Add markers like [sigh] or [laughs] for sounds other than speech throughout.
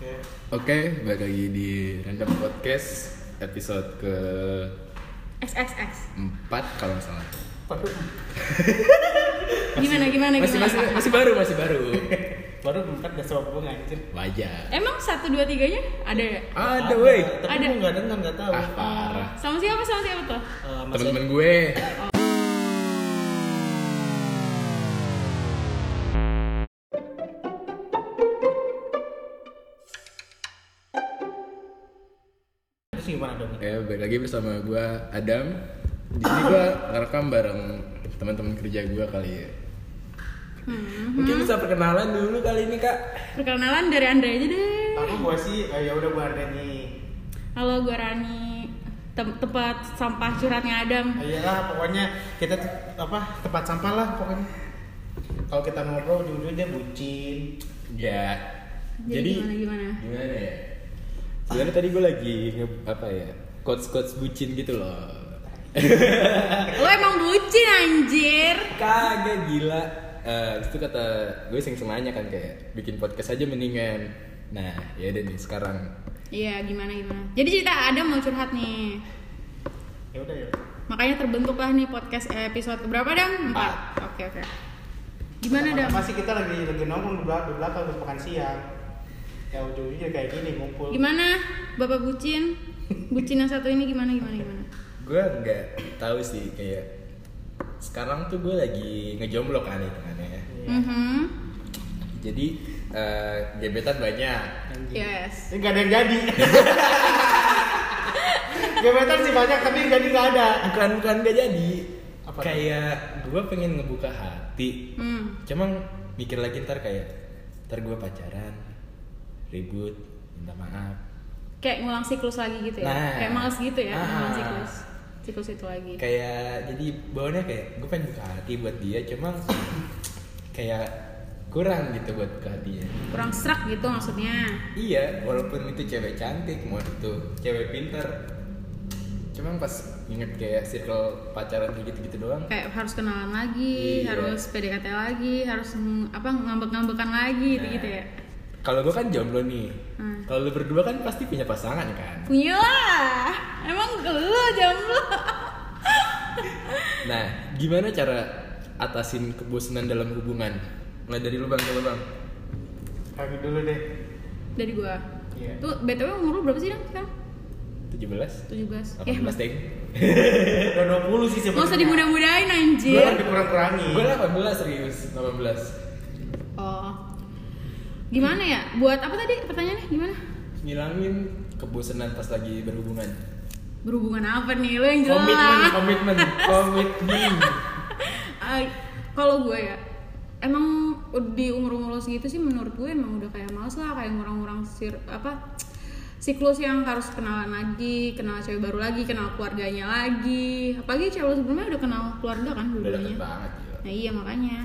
Oke. Oke, balik lagi di Random Podcast episode ke XXX. 4 kalau nggak salah. Baru, Gimana gimana Masih gimana? masih masih baru, masih baru. [laughs] baru empat udah sama gue anjir. Wajar. Emang satu dua tiganya ada ya? Ada weh. Tapi Ada. gue nggak dengar nggak tahu. Ah, parah. Sama siapa sama siapa tuh? Eh, masih- Teman-teman gue. Terus gimana dong? Ya, balik lagi bersama gue Adam. Di sini gue ngerekam bareng teman-teman kerja gue kali ya. Hmm. Mungkin bisa perkenalan dulu kali ini, Kak. Perkenalan dari Andre aja deh. Aku gue sih eh, ya udah gue ada nih. Halo, gue Rani. Tem- tempat sampah curhatnya Adam. Eh, Iyalah pokoknya kita tuh, apa tempat sampah lah pokoknya. Kalau kita ngobrol ujung-ujungnya dia bucin. Ya. Jadi, gimana gimana? gimana ya sebenarnya tadi gue lagi nge apa ya quotes quotes bucin gitu loh Lo emang bucin anjir. kagak gila Eh, itu kata gue sering sengaja kan kayak bikin podcast aja mendingan nah ya udah nih sekarang Iya, gimana gimana. Jadi cerita Adam mau curhat nih. Ya udah ya. Makanya terbentuklah nih podcast episode berapa Adam? Empat. Oke oke. Gimana Adam? Masih kita lagi lagi nongkrong di belakang, di belakang habis makan siang. Ya ujung-ujungnya kayak gini ngumpul. Gimana Bapak bucin? Bucin yang satu ini gimana gimana gimana? gue nggak tahu sih kayak sekarang tuh gue lagi ngejomblo kan hitungannya Iya. Mhm. jadi eh, gebetan banyak Anjing. Yes. Ini nggak ada yang [laughs] jadi. Gebetan sih banyak tapi yang jadi nggak ada. bukan bukan gak jadi Apa tuh? kayak gue pengen ngebuka hati Hmm. Cuma mikir lagi ntar kayak ntar gue pacaran ribut minta maaf Kayak ngulang siklus lagi gitu ya. Nah. Kayak males gitu ya, Ah. ngulang siklus. Siklus itu lagi. kayak jadi bawahnya kayak gue pengen buka hati buat dia cuma [clears throat] kayak kurang gitu buat buka hatinya Kurang serak gitu maksudnya. iya walaupun itu cewek cantik mau itu cewek pinter cuman pas inget kayak circle pacaran gitu gitu doang Kayak harus kenalan lagi, Iya. harus PDKT lagi, harus ng- apa ngambek-ngambekan Nah. lagi gitu, gitu ya. kalau gue kan jomblo nih Hmm. kalau lu berdua kan pasti punya pasangan kan Punya lah. Emang lu [laughs] jomblo. Nah, gimana cara atasin kebosanan dalam hubungan? Mulai dari lubang ke lubang. Kami dulu deh. Dari gua. Iya. Tuh BTW umur lu berapa sih, Dang? Sekarang? 17? 18 17. Ya, belas deng. Udah 20 sih Nggak usah dimudah-mudahin Gue anjir. dikurang-kurangi. Gue 18 serius, 18. Oh. Gimana ya? Buat apa tadi pertanyaannya? Gimana? Ngilangin kebosanan pas lagi berhubungan. Berhubungan apa nih? Lo yang jelas. Komitmen, komitmen, komitmen. Eh, kalau gue ya, emang di umur-umur lo segitu sih menurut gue emang udah kayak males lah kayak ngurang-ngurang sir apa siklus yang harus kenalan lagi, kenal cewek baru lagi, kenal keluarganya lagi. Apalagi cewek lo sebelumnya udah kenal keluarga kan Udah deket dulunya. banget gila. Nah iya makanya.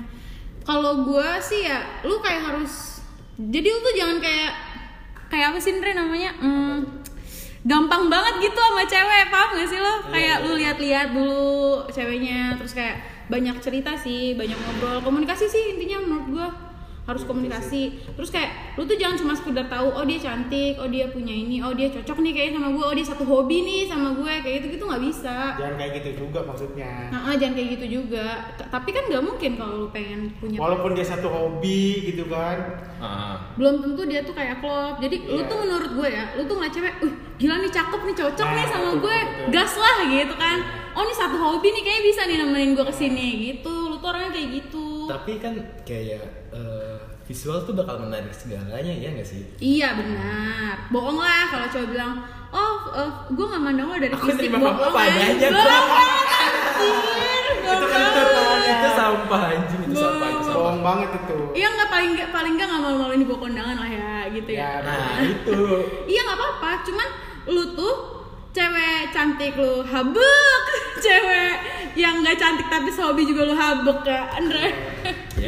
Kalau gue sih ya, lu kayak harus. Jadi lu tuh jangan kayak kayak apa sih Ndre namanya? Hmm, gampang banget gitu sama cewek, paham gak sih lo? Kayak lu lihat-lihat dulu ceweknya, terus kayak banyak cerita sih, banyak ngobrol, komunikasi sih intinya menurut gue harus komunikasi. Terus kayak lu tuh jangan cuma sekedar tahu, oh dia cantik, oh dia punya ini, oh dia cocok nih kayaknya sama gue, oh dia satu hobi nih sama gue, kayak gitu gitu nggak bisa. Jangan kayak gitu juga maksudnya. Nah, ah, jangan kayak gitu juga. T- Tapi kan nggak mungkin kalau lu pengen punya. Walaupun dia satu hobi gitu kan. Ah, Belum tentu dia tuh kayak klop. Jadi lu Iya. tuh menurut gue ya, lu tuh ngeliat cewek, uh gila nih cakep nih cocok Nah, nih sama betul, gue, betul. gas lah gitu kan. Oh ini satu hobi nih kayaknya bisa nih nemenin gue kesini gitu. Lu tuh orangnya kayak gitu. tapi kan kayak eh, visual tuh bakal menarik segalanya ya gak sih? Iya benar. Bohong lah kalau cowok bilang, oh eh, gue nggak mandang lo dari Aku fisik terima kamu apa adanya, anjir. Bohong Bang. banget, anjir. Bohong banget. kan itu sampah anjing, itu sampah, itu Oh. sampah. Bohong banget itu. Iya nggak paling nggak paling nggak nggak malu-maluin di bawah kondangan lah ya gitu ya. Ya, Nah, itu. Iya nggak apa-apa, cuman lu tuh cewek cantik lu habek, [laughs] cewek yang nggak cantik tapi sehobi juga lu habek ya, Andre. Ya.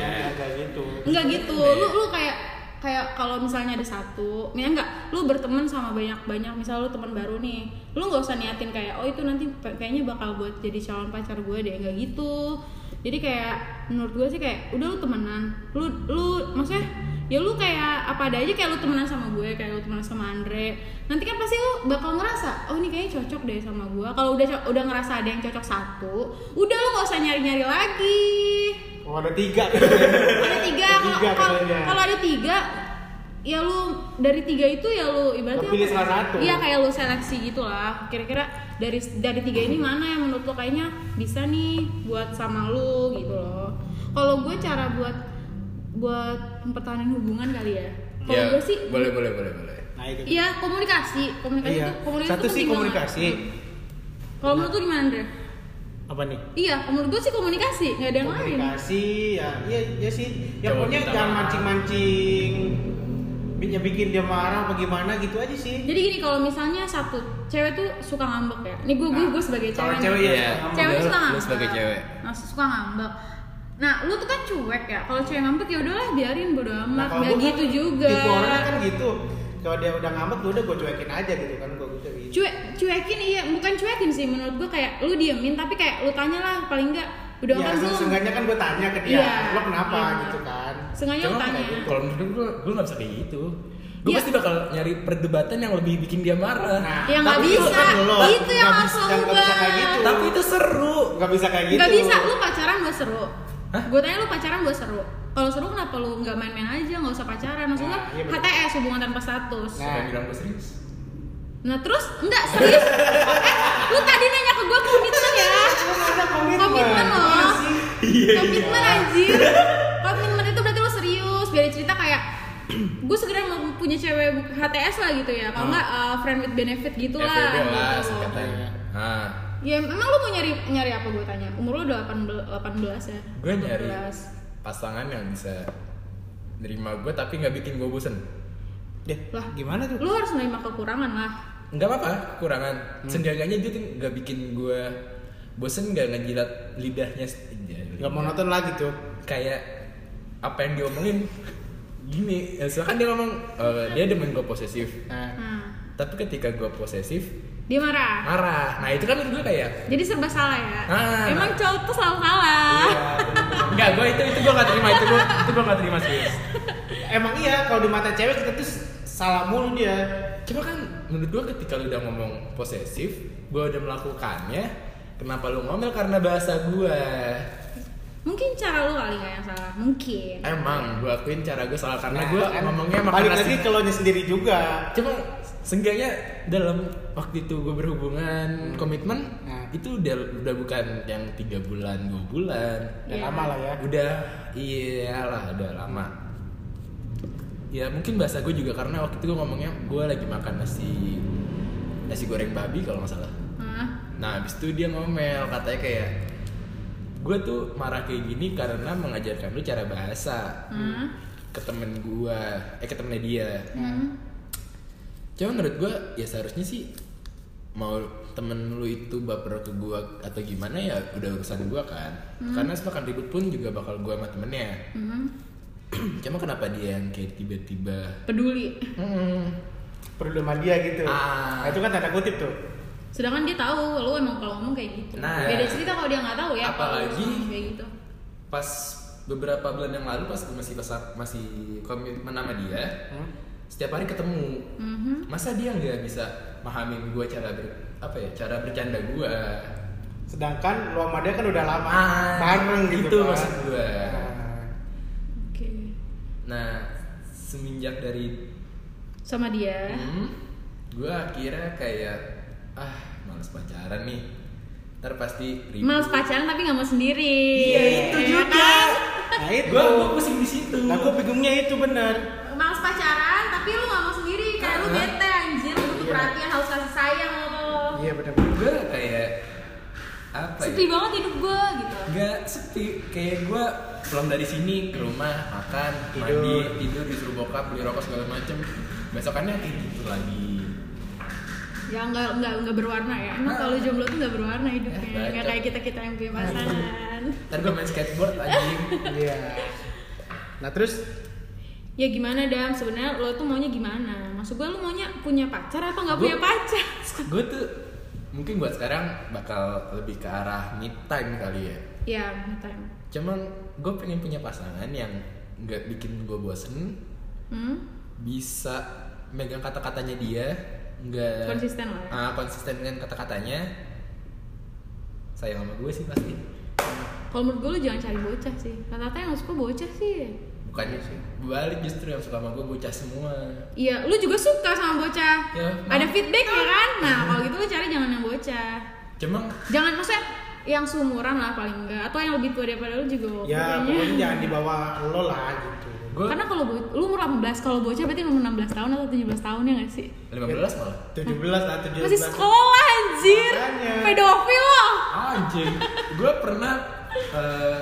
Iya. Jangan kayak gitu. Enggak gitu, lu lu kayak kayak kalau misalnya ada satu, ya enggak, lu berteman sama banyak-banyak, misal lu teman baru nih, lu nggak usah niatin kayak oh itu nanti pe- kayaknya bakal buat jadi calon pacar gue deh, enggak gitu. Jadi kayak menurut gue sih kayak udah lu temenan, lu lu maksudnya ya lu kayak apa ada aja kayak lu temenan sama gue kayak lu temenan sama Andre nanti kan pasti lu bakal ngerasa oh ini kayaknya cocok deh sama gue kalau udah co- udah ngerasa ada yang cocok satu udah lu nggak usah nyari nyari lagi Oh ada tiga. [laughs] ada tiga Ada tiga kalau kalau- katanya. kalau ada tiga ya lu dari tiga itu ya lu ibaratnya Lu pilih apa? salah satu. iya kayak lu seleksi gitulah kira-kira dari dari tiga ini mana yang menurut lo kayaknya bisa nih buat sama lu gitu loh kalau gue cara buat buat mempertahankan hubungan kali ya kalau ya gue sih boleh boleh boleh boleh Nah itu. iya komunikasi komunikasi Iya. tuh komunikasi Satu tuh sih penting banget. komunikasi. kalau menurut lu gimana Andre? Apa nih? iya kalau menurut gue sih komunikasi nggak ada yang lain komunikasi ya iya iya sih ya Coba pokoknya minta jangan maaf. mancing-mancing bi- ya bikin dia marah apa gimana gitu aja sih Jadi gini kalau misalnya satu cewek tuh suka ngambek ya. Ini gue gue gue sebagai Kalau cewek. nih. cewek ya, Iya. suka Oh Cewek Lu- suka lu ngambek. sebagai cewek. Nah, suka ngambek. Nah, lu tuh kan cuek ya. Kalau cewek ngambek ya udahlah biarin bodo amat. kalau Nggak gua gitu kan juga. tipe orangnya kan gitu kalau dia udah ngambek gua udah gue cuekin aja gitu kan gue udah gitu Cuek cuekin iya, bukan cuekin sih menurut gue kayak lu diemin tapi kayak lu tanyalah paling enggak udah ya makan se- belum. seenggaknya kan gue tanya ke dia Iya. lo kenapa Iya. gitu kan Sengaja lu Cuma tanya. kayak gitu, kalau menurut gue gue nggak bisa kayak gitu gue Iya. pasti bakal nyari perdebatan yang lebih bikin dia marah Nah, Ya nggak tapi bisa. itu kan lo. Itu yang Nggak harus bisa- lo nggak bisa kayak ubah. gitu tapi itu seru nggak bisa kayak gitu Nggak bisa, lu pacaran gak seru Hah? Gue tanya lu pacaran gak seru Kalau seru kenapa lu gak main-main aja, gak usah pacaran Maksudnya Nah, iya bener. HTS, hubungan tanpa status Nah. Siapa yang bilang gue serius Nah terus, enggak serius Eh, lu tadi nanya ke gue komitmen ya Iya, Lu nggak ada komitmen Komitmen Iya loh sih. Komitmen anjir Komitmen itu berarti lu serius Biar ada cerita kayak [clears throat] Gue segera mau punya cewek bu- HTS lah gitu ya Ah. Kalau enggak eh, friend with benefit gitu lah FBB lah gitu. singkatannya ah Ya emang lu mau nyari nyari apa gue tanya Umur lu udah 18, 18 ya gue nyari 18. pasangan yang bisa nerima gue tapi nggak bikin gue bosen Deh, Lah. gimana tuh lu harus menerima kekurangan lah nggak apa-apa kurangan seenggaknya dia tuh nggak bikin gue bosen nggak ngejilat lidahnya Iya, nggak monoton lagi tuh kayak apa yang diomongin gini ya, misalkan dia ngomong eh, dia demen gue posesif nah nah tapi ketika gue posesif dia marah marah nah itu kan menurut gue kayak jadi serba salah ya Ah. Iya. emang cowok tuh selalu salah Enggak, gue itu itu gue gak terima itu gue itu gue gak terima serius. Emang iya kalau di mata cewek kita tuh salah mulu dia. Cuma kan menurut gue ketika lu udah ngomong posesif, gue udah melakukannya, kenapa lu ngomel karena bahasa gue? mungkin cara lu kali nggak yang salah mungkin Emang gue akuin cara gue salah karena Nah, gue kan ngomongnya emang balik karena lagi si- ke lo nya sendiri juga. Cuma seenggaknya dalam waktu itu gue berhubungan komitmen Nah. itu udah udah bukan yang tiga bulan dua bulan Ya Iya. lama lah ya. udah iyalah udah lama ya mungkin bahasa gue juga karena waktu itu gue ngomongnya gue lagi makan nasi nasi goreng babi kalau nggak salah Hah? nah habis itu dia ngomel katanya kayak gue tuh marah kayak gini karena mengajarkan lu cara bahasa Hah? ke temen gue eh ke temennya dia Hmm. Cuma menurut gue ya seharusnya sih mau temen lu itu baper ke gue atau gimana ya udah urusan gue kan karena semakin ribut pun juga bakal gue sama temennya [clears throat] Hmm. cuma kenapa dia yang kayak tiba-tiba peduli "Mm-mm." Perlu sama dia gitu. Ah. Nah, itu kan tanda kutip tuh. sedangkan dia tahu lu emang kalau ngomong kayak gitu Nah. beda cerita kalau dia nggak tahu ya kalau lu Apalagi- ngomong kayak gitu pas beberapa bulan yang lalu pas gue masih pasar masih komitmen sama dia Hmm. setiap hari ketemu Mhm. masa dia nggak bisa mahamin gue cara ber, apa ya cara bercanda gue Sedangkan lo sama dia kan udah lama Ah, bareng gitu. itu kan. maksud gua. Nah, oke nah semenjak dari sama dia Hmm, gue akhirnya kayak ah males pacaran nih ntar pasti ribut males pacaran tapi nggak mau sendiri kan? Iya, itu juga. Nah, itu. gue gue Eh, pusing di situ Nah, gua bingungnya itu bener Males pacaran tapi lu nggak mau sendiri kayak lu bete anjir lu butuh Iya. perhatian harus kasih sayang lo Iya bener-bener gue kayak apa sepi ya banget hidup gue gitu nggak sepi kayak gue pulang dari sini ke rumah makan Tidur. mandi tidur disuruh bokap beli rokok segala macem besokannya kayak gitu lagi ya nggak nggak nggak berwarna ya emang kalau jomblo tuh nggak berwarna hidupnya Ya, nggak kayak kita kita yang punya pasangan ntar gue main skateboard anjing Iya. Nah, terus ya gimana dam sebenarnya lo tuh maunya gimana maksud gue lo maunya punya pacar apa nggak Gua- punya pacar [laughs] gue tuh mungkin buat sekarang bakal lebih ke arah mid time kali ya ya me time cuman gue pengen punya pasangan yang nggak bikin gue bosen Hmm? bisa megang kata-katanya dia nggak Konsisten lah ya. Eh. Ah, konsisten dengan kata-katanya sayang sama gue sih pasti Kalau menurut gue lu jangan cari bocah sih. Rata-rata yang suka bocah Iya sih. bukannya sih balik justru yang suka sama gue bocah semua Iya, lu juga suka sama bocah. Ya, Ada maaf. feedback ya kan? Nah, kalau gitu lu cari jangan yang bocah. cuma Jangan maksudnya yang seumuran lah paling enggak atau yang lebih tua daripada lu juga oke ya kayaknya. pokoknya jangan dibawa lo lah gitu gue Karena kalau bo- lu umur 18, kalau bocah berarti umur 16 tahun atau 17 tahun ya gak sih? 15 malah 17 lah 17 Masih sekolah anjir. Makanya. Pedofil lo. anjing gue pernah eh,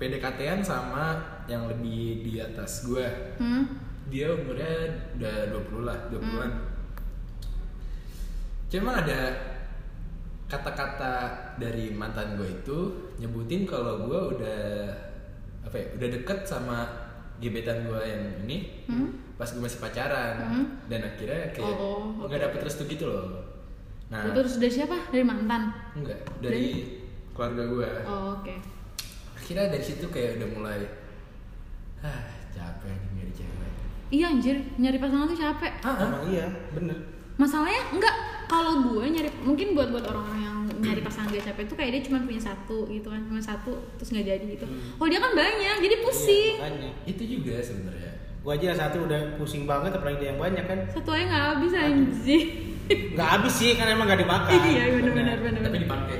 PDKT-an sama yang lebih di atas gue Hmm. dia umurnya udah 20 lah 20-an cuman ada kata-kata dari mantan gue itu nyebutin kalau gue udah apa ya udah deket sama gebetan gue yang ini pas gue masih pacaran Hmm. dan akhirnya kayak Oh, oke, nggak dapet restu gitu loh nah Itu terus dari siapa? Dari mantan. enggak dari keluarga gue Oh, oke. akhirnya dari situ kayak udah mulai ah capek nih nyari cewek Iya anjir, nyari pasangan tuh capek. Ah, emang iya bener masalahnya enggak kalau gue nyari mungkin buat buat orang-orang yang nyari pasangan gak capek tuh kayak dia cuma punya satu gitu kan cuma satu terus nggak jadi gitu Hmm. oh dia kan banyak jadi pusing Iya, makanya itu juga sebenarnya gua aja yang satu udah pusing banget apalagi dia yang banyak kan satu aja nggak habis anjir nggak habis sih kan emang nggak dimakan [laughs] iya benar-benar tapi benar-benar dipakai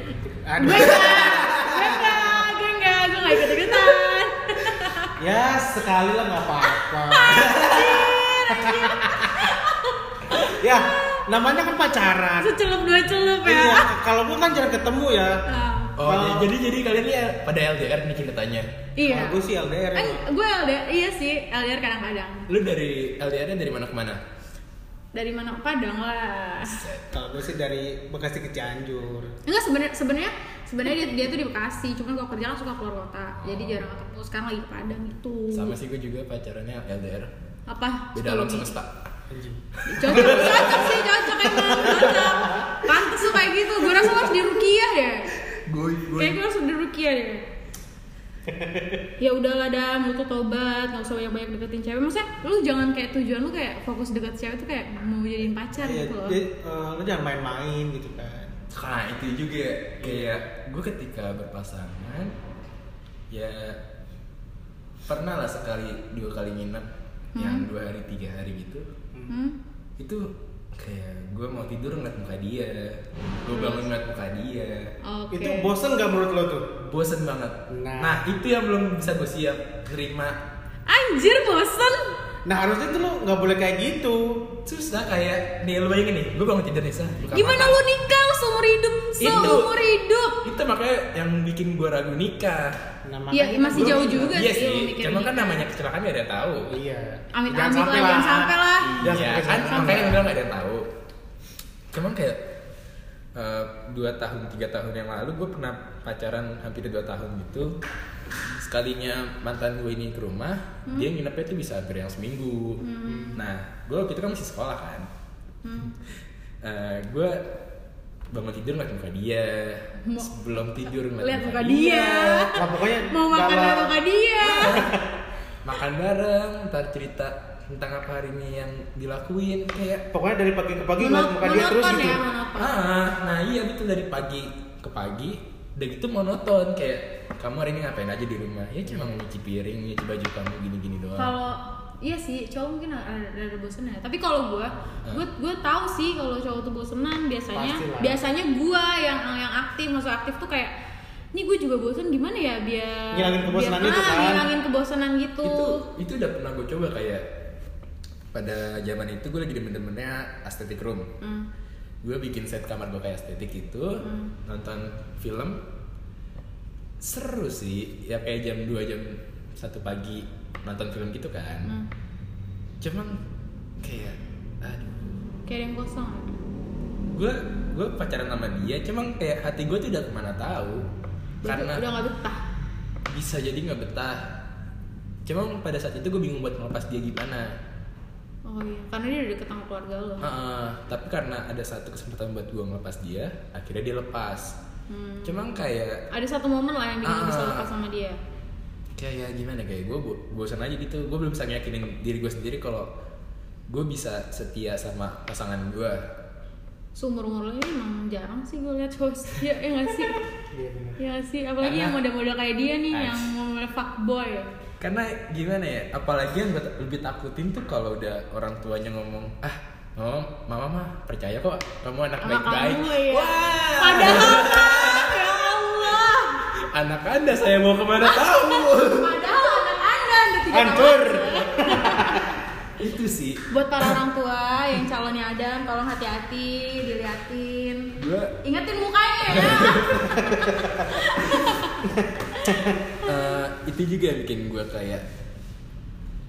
Aduh. gue enggak gue enggak gue nggak ikut ikutan ya sekali lah nggak apa-apa ya namanya kan pacaran secelup dua celup ya iya kalau gua kan jarang ketemu ya Ah, oh Wow. jadi jadi kalian ya pada LDR nih ceritanya iya Kalau gua sih LDR ya. kan emang. gue LDR iya sih LDR kadang-kadang lu dari LDR-nya dari mana ke mana dari mana Padang lah kalau gua sih dari Bekasi ke Cianjur Enggak sebenarnya sebenarnya sebenarnya dia, dia tuh di Bekasi, cuman kalau kerja kan suka keluar kota. Jadi jarang ketemu. Sekarang lagi ke Padang itu. sama sih gue juga pacarannya LDR Apa? beda alam Suka semesta anjing begini. Cocok, cocok sih, cocok emang, cocok. Pantes tuh kayak gitu. Gue rasa lo harus di Rukiah deh. gue Kayaknya lo harus di Rukiah deh. ya udahlah dah, lu tuh tobat, gak usah banyak-banyak deketin cewek. Maksudnya lu jangan kayak tujuan lu kayak fokus deket cewek tuh kayak mau jadiin pacar Iya, gitu loh. jadi, eh, lu jangan main-main gitu kan Nah itu juga kayak gue ketika berpasangan ya pernah lah sekali dua kali nginep yang dua hari tiga hari gitu Hmm? itu kayak gue mau tidur ngeliat muka dia gue Hmm. bangun ngeliat muka dia Oke. itu bosen gak menurut lo tuh bosen banget Nah. nah itu yang belum bisa gue siap terima Anjir bosen. nah harusnya tuh lo nggak boleh kayak gitu susah kayak nih lu bayangin nih gue bangun tidur nih sah buka Gimana mata. lu nikah lu seumur hidup? Itu. Seumur hidup. itu makanya yang bikin gue ragu nikah namanya Iya, masih Gua- jauh juga iya sih, lu sih mikir cuman kan nikah. namanya kecelakaan gak ada yang tahu iya Amit amit lah, jangan sampai lah. Jangan Iya sampai kan, sampai. makanya yang bilang gak ada yang tahu. Cuman kayak eh, dua tahun tiga tahun yang lalu gue pernah pacaran hampir dua tahun gitu. Sekalinya mantan gue ini ke rumah, Hmm. dia nginepnya tuh bisa hampir yang seminggu. Nah, gue waktu itu kan masih sekolah kan. Hmm. [laughs] Eh, gue bangun tidur ngeliat muka dia Mau- sebelum tidur ngeliat Lihat muka dia. lah pokoknya Mau makan kalau- lihat muka dia. [laughs] makan bareng ntar cerita tentang apa hari ini yang dilakuin kayak pokoknya dari pagi ke pagi ngeliat Mono- muka dia terus Monoton gitu ya, monoton. Ah, nah iya betul dari pagi ke pagi udah gitu monoton kayak kamu hari ini ngapain aja di rumah ya cuma nyuci piring nyuci baju kamu gini gini doang Kalau Iya sih, cowok mungkin ada, ada, ada bosenan ya. Tapi kalau Nah. gua, gua gua tahu sih kalau cowok tuh bosenan biasanya Pastilah. biasanya gua yang yang aktif, maksud aktif tuh kayak ini gue juga bosen gimana ya biar Ngilangin kebosanan biar, itu ah, kan. ngilangin kebosanan gitu. itu itu udah pernah gue coba kayak pada zaman itu gue lagi demen-demennya aesthetic room Hmm. gue bikin set kamar gue kayak estetik itu nonton film seru sih ya kayak jam 2 jam satu pagi nonton film gitu kan Hmm. cuman kayak aduh Kayak ada yang kosong. gue gue pacaran sama dia cuman kayak hati gue tuh udah kemana tahu karena udah nggak betah. bisa jadi nggak betah cuman pada saat itu gue bingung buat melepas dia gimana Oh iya, karena dia udah deket sama keluarga lo. Heeh, tapi karena ada satu kesempatan buat gue melepas dia akhirnya dia lepas Hmm. cuman kayak Ada satu momen lah yang bikin lo bisa Ah. lepas sama dia. kayak ya gimana kayak gue bosan aja gitu gue belum bisa ngeyakinin diri gue sendiri kalau gue bisa setia sama pasangan gue Seumur umur lo ini emang jarang sih gue liat cowok setia [laughs] ya nggak sih? Iya benar. Ya nggak sih, apalagi yang model-model kayak dia nih yang model fuckboy ya. karena gimana ya apalagi yang gue ta- lebih takutin tuh kalau udah orang tuanya ngomong ah mama mama mah percaya kok kamu anak Sama baik baik kamu ya. wah Padahal mah, ya Allah. anak anda saya mau kemana tahu Padahal anak Anda udah tiga Hancur. tahun. itu sih Buat para orang tua yang calonnya Adam, tolong hati-hati, diliatin. gue Ingetin mukanya ya. Eh, itu juga yang bikin gue kayak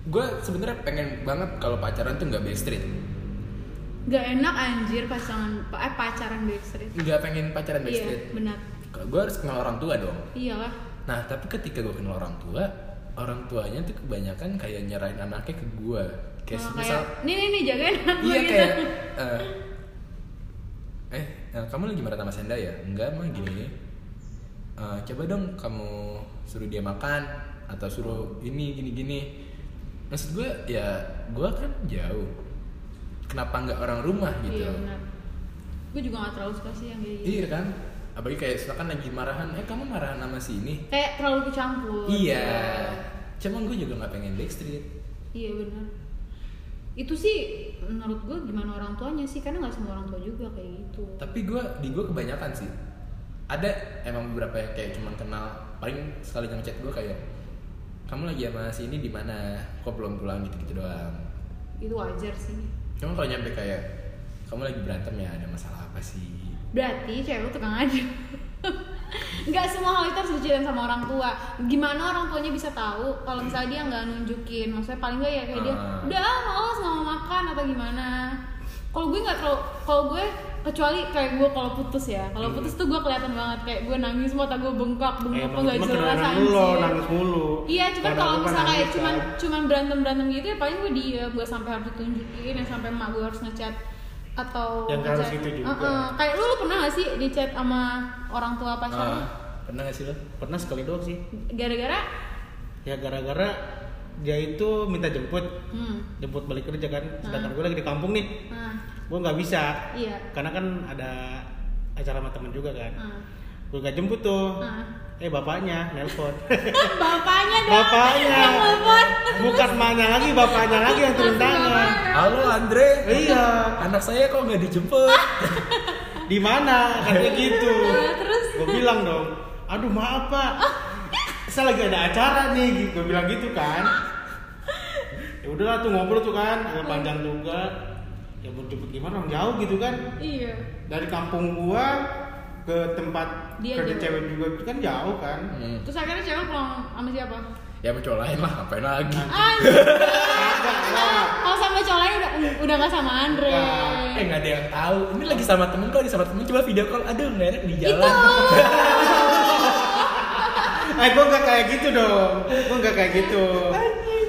gue sebenarnya pengen banget kalau pacaran tuh nggak backstreet Gak enak anjir pasangan eh pacaran backstreet. nggak pengen pacaran Iya, backstreet benar. gue harus kenal orang tua dong Iyalah. nah tapi ketika gue kenal orang tua orang tuanya tuh kebanyakan kayak nyerahin anaknya ke gue kayak Kalau misal Oh, kayak, nih nih nih jagain aku iya gitu. kayak eh, eh eh, kamu lagi marah sama Senda ya enggak mah gini Eh, coba dong kamu suruh dia makan atau suruh ini gini gini maksud gue ya gue kan jauh kenapa nggak orang rumah gitu Iya benar. Gue juga gak terlalu suka sih yang kayak gitu. iya kan apalagi kayak misalkan lagi marahan eh kamu marahan sama si ini Kayak terlalu kecampur. iya Gitu. cuman gue juga nggak pengen backstreet Iya benar. Itu sih menurut gue gimana orang tuanya sih karena nggak semua orang tua juga kayak gitu. tapi gue di gue kebanyakan sih ada emang beberapa yang kayak cuman kenal paling sekali ngechat gue kayak kamu lagi sama si ini di mana kok belum pulang gitu gitu doang Itu wajar sih. cuman kalau nyampe kayak kamu lagi berantem ya ada masalah apa sih Berarti cewek lu tukang aja. Nggak semua hal itu harus diceritain sama orang tua. Gimana orang tuanya bisa tahu kalau misalnya dia nggak nunjukin? Maksudnya paling nggak ya kayak dia, Ah. udah ah, males nggak mau makan atau gimana? Kalau gue nggak terlalu, kalau gue kecuali kayak gue kalau putus ya, Hmm. kalau putus tuh gue kelihatan banget kayak gue nangis mata gue bengkak bengkak Emang apa nggak cuma jelas kedengeran anjir. lo nangis mulu. Iya, cuman Padahal kalau lu kan misalnya kayak nangis, cuman kan. cuman berantem berantem gitu ya paling gue diem, gue sampai harus ditunjukin, ya sampai emak gue harus ngechat atau Yang harus ngechat. gitu juga. Heeh. Kayak lu, lu pernah gak sih dicat sama orang tua pacar lu? Ah, pernah gak sih lo pernah sekali doang sih. Gara-gara, Ya gara-gara dia itu minta jemput, hmm, jemput balik kerja kan. Sedangkan gue lagi di kampung nih, nah, gue nggak bisa. iya, Karena kan ada acara sama temen juga kan. nah, Gue gak jemput tuh. [laughs] nah. Eh bapaknya nelpon. [laughs] bapaknya dong, Bapaknya. yang telepon. Bukan emaknya lagi, bapaknya lagi yang turun tangan. halo Andre Iya. anak saya kok nggak dijemput Di mana? Katanya [laughs] gitu. Ah, Terus? Ah. Gue bilang dong, aduh maaf pak, saya lagi ada acara nih, gue bilang gitu kan. Ya udahlah tuh ngobrol tuh kan, agak panjang juga. Ya mau jemput gimana orang jauh gitu kan. Iya, Dari kampung gua ke tempat Dia kerja jauh. cewek juga itu kan jauh kan. Hmm, terus akhirnya cewek pulang sama siapa? ya sama cowok lain lah ngapain lagi Anjir, Agak lah. kalau sama cowok lain udah udah gak sama Andre. Enggak. eh nggak ada yang tahu ini lagi sama temen kok lagi sama temen coba video call aduh nggak enak di Itu jalan [laughs] Eh gua nggak kayak gitu dong, gua nggak kayak gitu.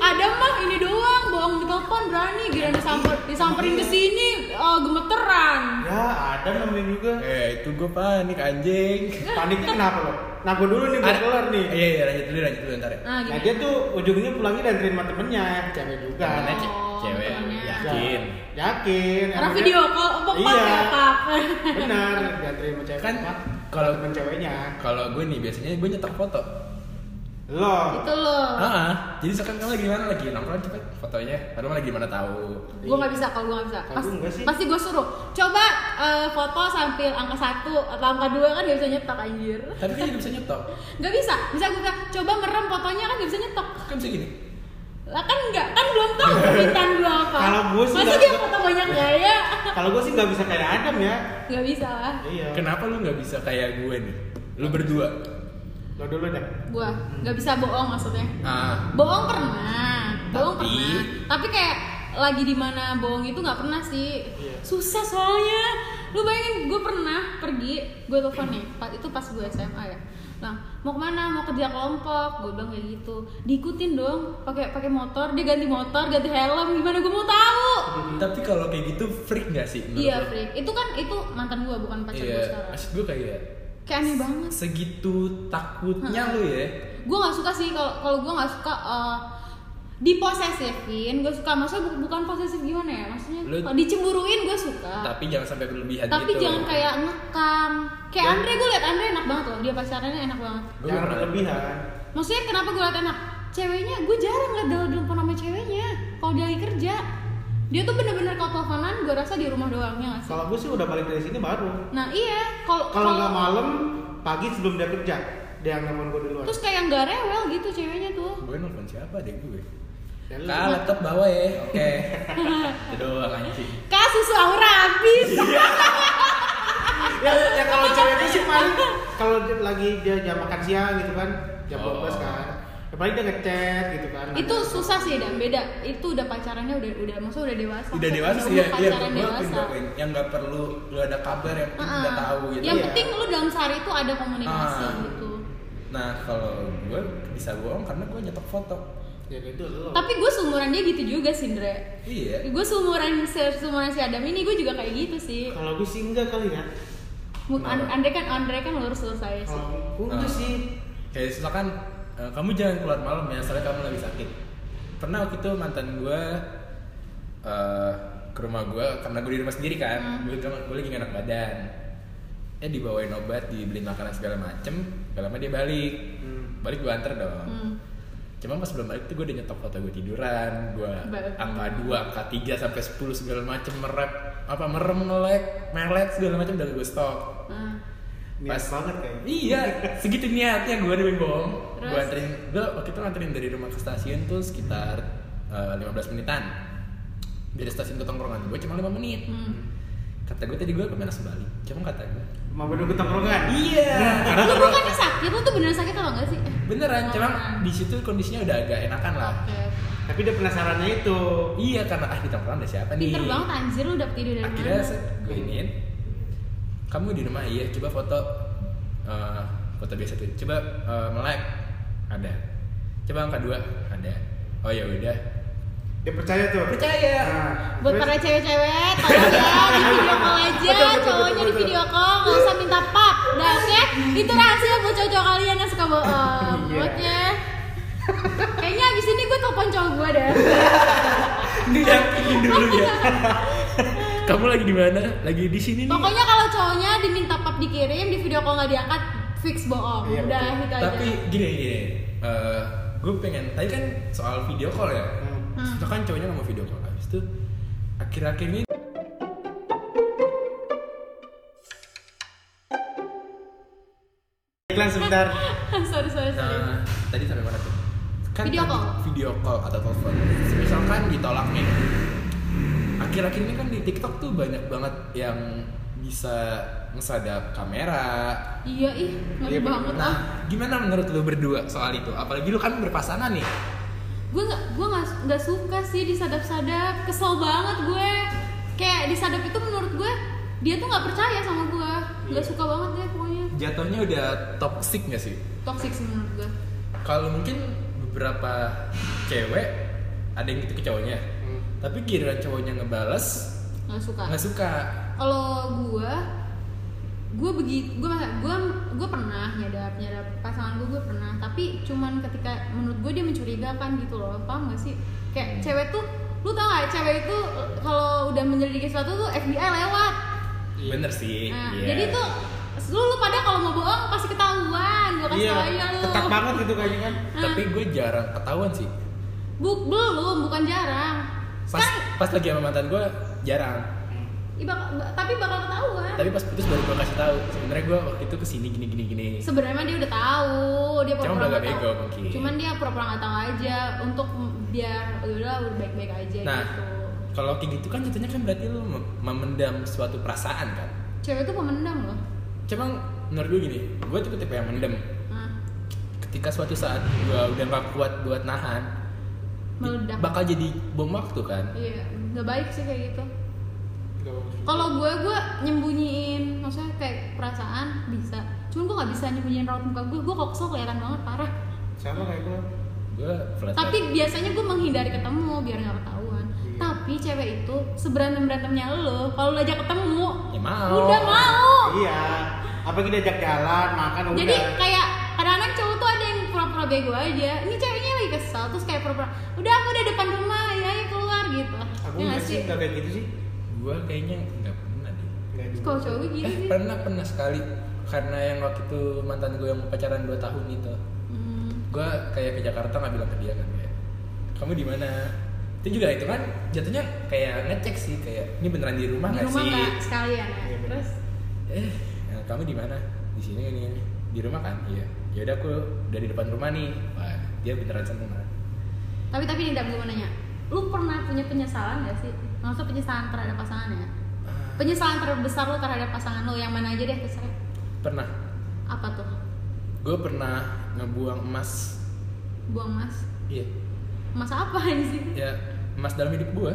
Ada mah ini doang bohong di telepon berani gila disamper disamperin ke sini eh, gemeteran. Ya ada namanya juga. eh itu gue panik anjing Paniknya kenapa lo? Nah gua dulu nih belum Ada- kelar nih. Iya iya lanjut dulu lanjut dulu ntar. ya. Nah, Nah gimana? dia tuh ujungnya pulangnya dan terima temennya, cewek juga. Temennya ce- Oh, cewek temennya. yakin. Yakin. Karena emangnya- video call empok Iya. banget ya, Pak. Benar, dia terima cewek. Kan Pak. kalau- temen ceweknya. Kalau gue nih biasanya gue nyetak foto. Lo. Itu loh. Ah, ah. jadi sekarang kamu lagi mana lagi nongkrong cepet fotonya. Padahal mah lagi mana tahu. Gue gak bisa kalau gue gak bisa. Kalau Pas- gua enggak sih. pasti gue suruh. Coba eh, foto sambil angka satu atau angka dua kan gak bisa nyetok anjir. Tapi kan juga bisa nyetok. Gak bisa. Bisa gue bilang, coba merem fotonya kan gak bisa nyetok. Kan bisa gini. Lah kan enggak, kan belum tahu permintaan gue apa. Kalau gua sih Masa nggak- dia foto banyak gaya? Kalau gue sih nggak bisa kayak Adam ya. Gak bisa lah. Iya. Kenapa lu nggak bisa kayak gue nih? Lu berdua. Lo dulu deh. gua nggak bisa bohong maksudnya Ah, bohong pernah bohong Tapi- pernah tapi kayak lagi di mana bohong itu nggak pernah sih Iya. susah soalnya lu bayangin gue pernah pergi gue telepon nih pa- itu pas gue SMA ya nah mau kemana mau kerja kelompok gue bilang kayak gitu diikutin dong pakai pakai motor dia ganti motor ganti helm gimana gue mau tahu tapi kalau kayak gitu freak gak sih? menurut iya lu? freak itu kan itu mantan gue bukan pacar Iya. gue sekarang Maksud gue kayak kayak aneh banget segitu takutnya lu ya. gue nggak suka sih kalau kalau gue nggak suka eh, diposesifin gue suka maksudnya bu- bukan posesif gimana ya maksudnya Lu- kalau dicemburuin gue suka tapi jangan sampai berlebihan Ah. tapi gitu jangan kayak ngekam kayak Ya. Andre gue liat Andre enak banget loh dia pacarannya enak banget Gua jangan pernah- berlebihan maksudnya kenapa gue liat enak ceweknya gue jarang liat dalam telepon sama ceweknya kalau dia lagi kerja dia tuh bener-bener kalau teleponan gue rasa di rumah doangnya nggak sih kalau gue sih udah balik dari sini baru nah iya kalau kalau nggak malam pagi sebelum dia kerja dia yang nelfon gue di luar terus kayak nggak rewel gitu ceweknya tuh gue nelfon siapa deh gue Dan lu- kak laptop bawa ya [laughs] oke itu doang anjing Kak susu aura habis. ya, ya kalau cewek itu sih paling kalau dia lagi dia jam makan siang gitu kan jam Oh. 12 kan ya paling dia ngechat gitu kan itu susah sih dan beda. Itu udah pacarannya udah udah maksudnya udah dewasa. udah dewasa sih udah ya iya Pacaran gue dewasa. pindahin yang nggak perlu lu ada kabar yang kita Heeh. udah tahu gitu Yang ya. penting lu dalam sehari itu ada komunikasi Ah. gitu. nah kalau gue bisa bohong karena gue nyetok foto ya itu lo Tapi gue seumuran dia gitu juga sih, Ndre. iya Gue seumuran se- seumuran si Adam ini gue juga kayak gitu sih. kalau gue sih enggak kali ya Mu- An- Andre kan Andre kan lurus lurus saya Iya sih. kalau gue enggak Ah. sih kayak misalkan eh, kamu jangan keluar malam ya soalnya kamu lagi sakit pernah waktu itu mantan gue eh ke rumah gue karena gue di rumah sendiri kan Hmm. gue gue lagi nggak enak badan eh dibawain obat dibeliin makanan segala macem gak lama dia balik Hmm. balik gue anter dong Hmm. Cuma pas belum balik tuh gue udah nyetok foto gue tiduran, gue Ba- hmm. angka 2, angka 3 sampai 10 segala macem merep, apa merem ngelek, melek segala macem udah gue stok. Ah. niat Pas- banget kayak Iya, segitu niatnya gue nih bohong. Gue Terus? anterin, gue waktu itu nganterin dari rumah ke stasiun tuh sekitar eh, 15 menitan. Dari stasiun ke tongkrongan gue cuma 5 menit. Hmm. Kata gue tadi gue kemana balik, cuma kata gue. mau berdua ke tongkrongan Iya, karena [laughs] Lu tongkrongan bukannya sakit, lu tuh beneran sakit atau enggak sih? beneran, cuma Nah, Tongkrongan. di situ kondisinya udah agak enakan lah. Oke. tapi dia penasarannya itu Iya karena ah di tongkrongan ada siapa nih? Pinter banget anjir lu dapet ide dari Akhirnya mana? set, gue iniin. Kamu di rumah iya coba foto eh, foto biasa tuh. Coba eh, melek ada. Coba angka dua ada. Oh ya udah. dia percaya tuh Percaya. Nah, buat terus- para cewek-cewek tolong ya di video call aja Betul, betul, cowoknya di betul, video call nggak usah minta pap dah oke itu rahasia buat cowok-cowok kalian yang suka bohong Iya. buatnya kayaknya abis ini gue telepon cowok gue deh Ini yang ini dulu ya. [laughs] Kamu lagi di mana? Lagi di sini nih. pokoknya kalau cowoknya diminta pap dikirim di video call nggak diangkat fix bohong Iya, udah betul. gitu Tapi aja gini gini. eh, gue pengen tadi kan soal video call ya. Hmm. Hmm. Itu kan cowoknya nggak mau video call. Habis itu akhir-akhir ini iklan sebentar [laughs] sorry sorry sorry Nah, tadi sampai mana tuh? Kan Video tadi call. Video call atau telepon. Misalkan ditolak nih. Akhir-akhir ini kan di TikTok tuh banyak banget yang bisa ngesadap kamera. iya ih ngeri Iya, bener. banget ah Nah, gimana menurut lu berdua soal itu? Apalagi lu kan berpasangan nih. gue nggak gue nggak nggak suka sih disadap-sadap kesel banget gue kayak disadap itu menurut gue dia tuh nggak percaya sama gue nggak Iya. suka banget deh pokoknya Jatuhnya udah toxic gak sih? toxic sih menurut gue Kalau mungkin beberapa cewek ada yang gitu ke cowoknya. Hmm. Tapi giliran cowoknya ngebales, nggak suka nggak suka. kalau gue gue begitu gue gue gue pernah nyadap nyadap pasangan gue gue pernah tapi cuman ketika menurut gue dia mencurigakan gitu loh paham gak sih kayak cewek tuh lu tau gak cewek itu kalau udah menyelidiki sesuatu tuh FBI lewat Bener sih. Nah, iya. jadi tuh lu, lu pada kalau mau bohong pasti ketahuan. Gua kasih iya tau aja lu. Nah, ketat banget itu kayaknya kan Tapi gue jarang ketahuan sih. Buk belum, bukan jarang. Pas Sekarang pas lagi sama mantan gue jarang. i- bak- ba- tapi bakal ketahuan. Tapi pas putus baru gue kasih tahu. Sebenarnya gue waktu itu kesini gini gini gini. Sebenarnya dia udah tahu, dia Cuma pura-pura agak nggak bego tahu. mungkin. Cuman dia pura-pura nggak tahu aja untuk biar udah udah baik-baik aja Nah. gitu. Kalau kayak gitu kan jatuhnya kan berarti lu mem- memendam suatu perasaan kan. Cewek tuh pemendam loh. Cuma menurut gue gini, gue tuh tipe yang mendem. Nah, Ketika suatu saat gue udah gak kuat buat nahan, meledak. bakal jadi bom waktu kan. Iya, nggak baik sih kayak gitu. Nggak bagus. Kalau gue gue nyembunyiin, maksudnya kayak perasaan bisa. Cuman gue nggak bisa nyembunyiin raut muka gue. Gue kok kesel kelihatan banget parah. sama kayak gue Gue flat. Tapi biasanya gue menghindari ketemu biar nggak ketahuan. Iya. Tapi cewek itu seberantem berantemnya lo, kalau lo ajak ketemu, Ya mau. udah mau. iya apa kita ajak jalan makan Jadi Iya, udah kayak kadang-kadang cowok tuh ada yang pura pura-pura bego aja ini ceweknya lagi kesel terus kayak pura-pura udah aku udah depan rumah ya ayo keluar gitu lah aku ya nggak sih nggak kayak gitu sih Gua kayaknya nggak pernah deh. Nggak juga. kalau cowok gue gitu Eh sih pernah pernah sekali karena yang waktu itu mantan gue yang pacaran 2 tahun itu. Hmm. Gua kayak ke Jakarta nggak bilang ke dia kan kayak kamu di mana? Itu juga itu kan jatuhnya kayak ngecek sih kayak ini beneran di rumah di nggak rumah sih? nggak sekalian ya Iya, bener. terus eh nah, kamu di mana di sini ini ini. di rumah kan iya ya udah aku udah di depan rumah nih wah dia beneran seneng kan?" banget tapi tapi tidak gue mau nanya lu pernah punya penyesalan gak sih maksudnya penyesalan terhadap pasangan ya "Ah, penyesalan terbesar lu terhadap pasangan lu yang mana aja deh terserah pernah apa tuh gue pernah ngebuang emas buang mas iya mas apa [laughs] sih ya emas dalam hidup gue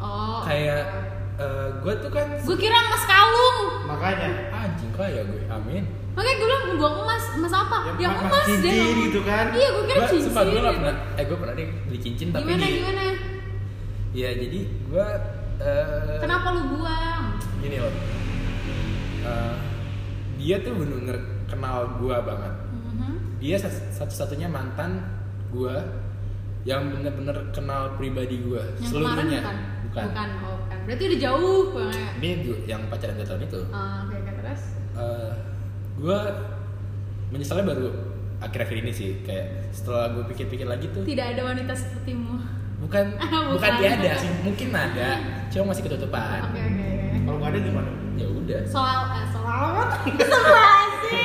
oh kayak gue tuh kan gue kira mas kalung makanya anjing kaya gue amin Makanya gue bilang buang emas, emas apa? Ya, Yang emas emas cincin deh ngomong. gitu kan. Iya gue kira gue cincin ya, sempat gue pernah eh gue pernah deh beli cincin tapi Gimana di- gimana? ya jadi gue Kenapa lu buang? gini loh Eh, dia tuh bener-bener kenal gue banget Mhm. dia sat- satu-satunya mantan gua yang bener-bener kenal pribadi gua Yang kemarin seluruhnya bukan? bukan, oh bukan Berarti udah jauh banget ya? ini du- yang pacaran dua tahun itu Ah, Oke, oke, terus? Eh, gua menyesalnya baru akhir-akhir ini sih kayak setelah gua pikir-pikir lagi tuh Tidak ada wanita sepertimu bukan [laughs] Bukan. bukan tiada mungkin ada cuma masih ketutupan Oke, oke, oke kalau nggak ada gimana ya udah Soal, eh, soal [laughs] Soal sih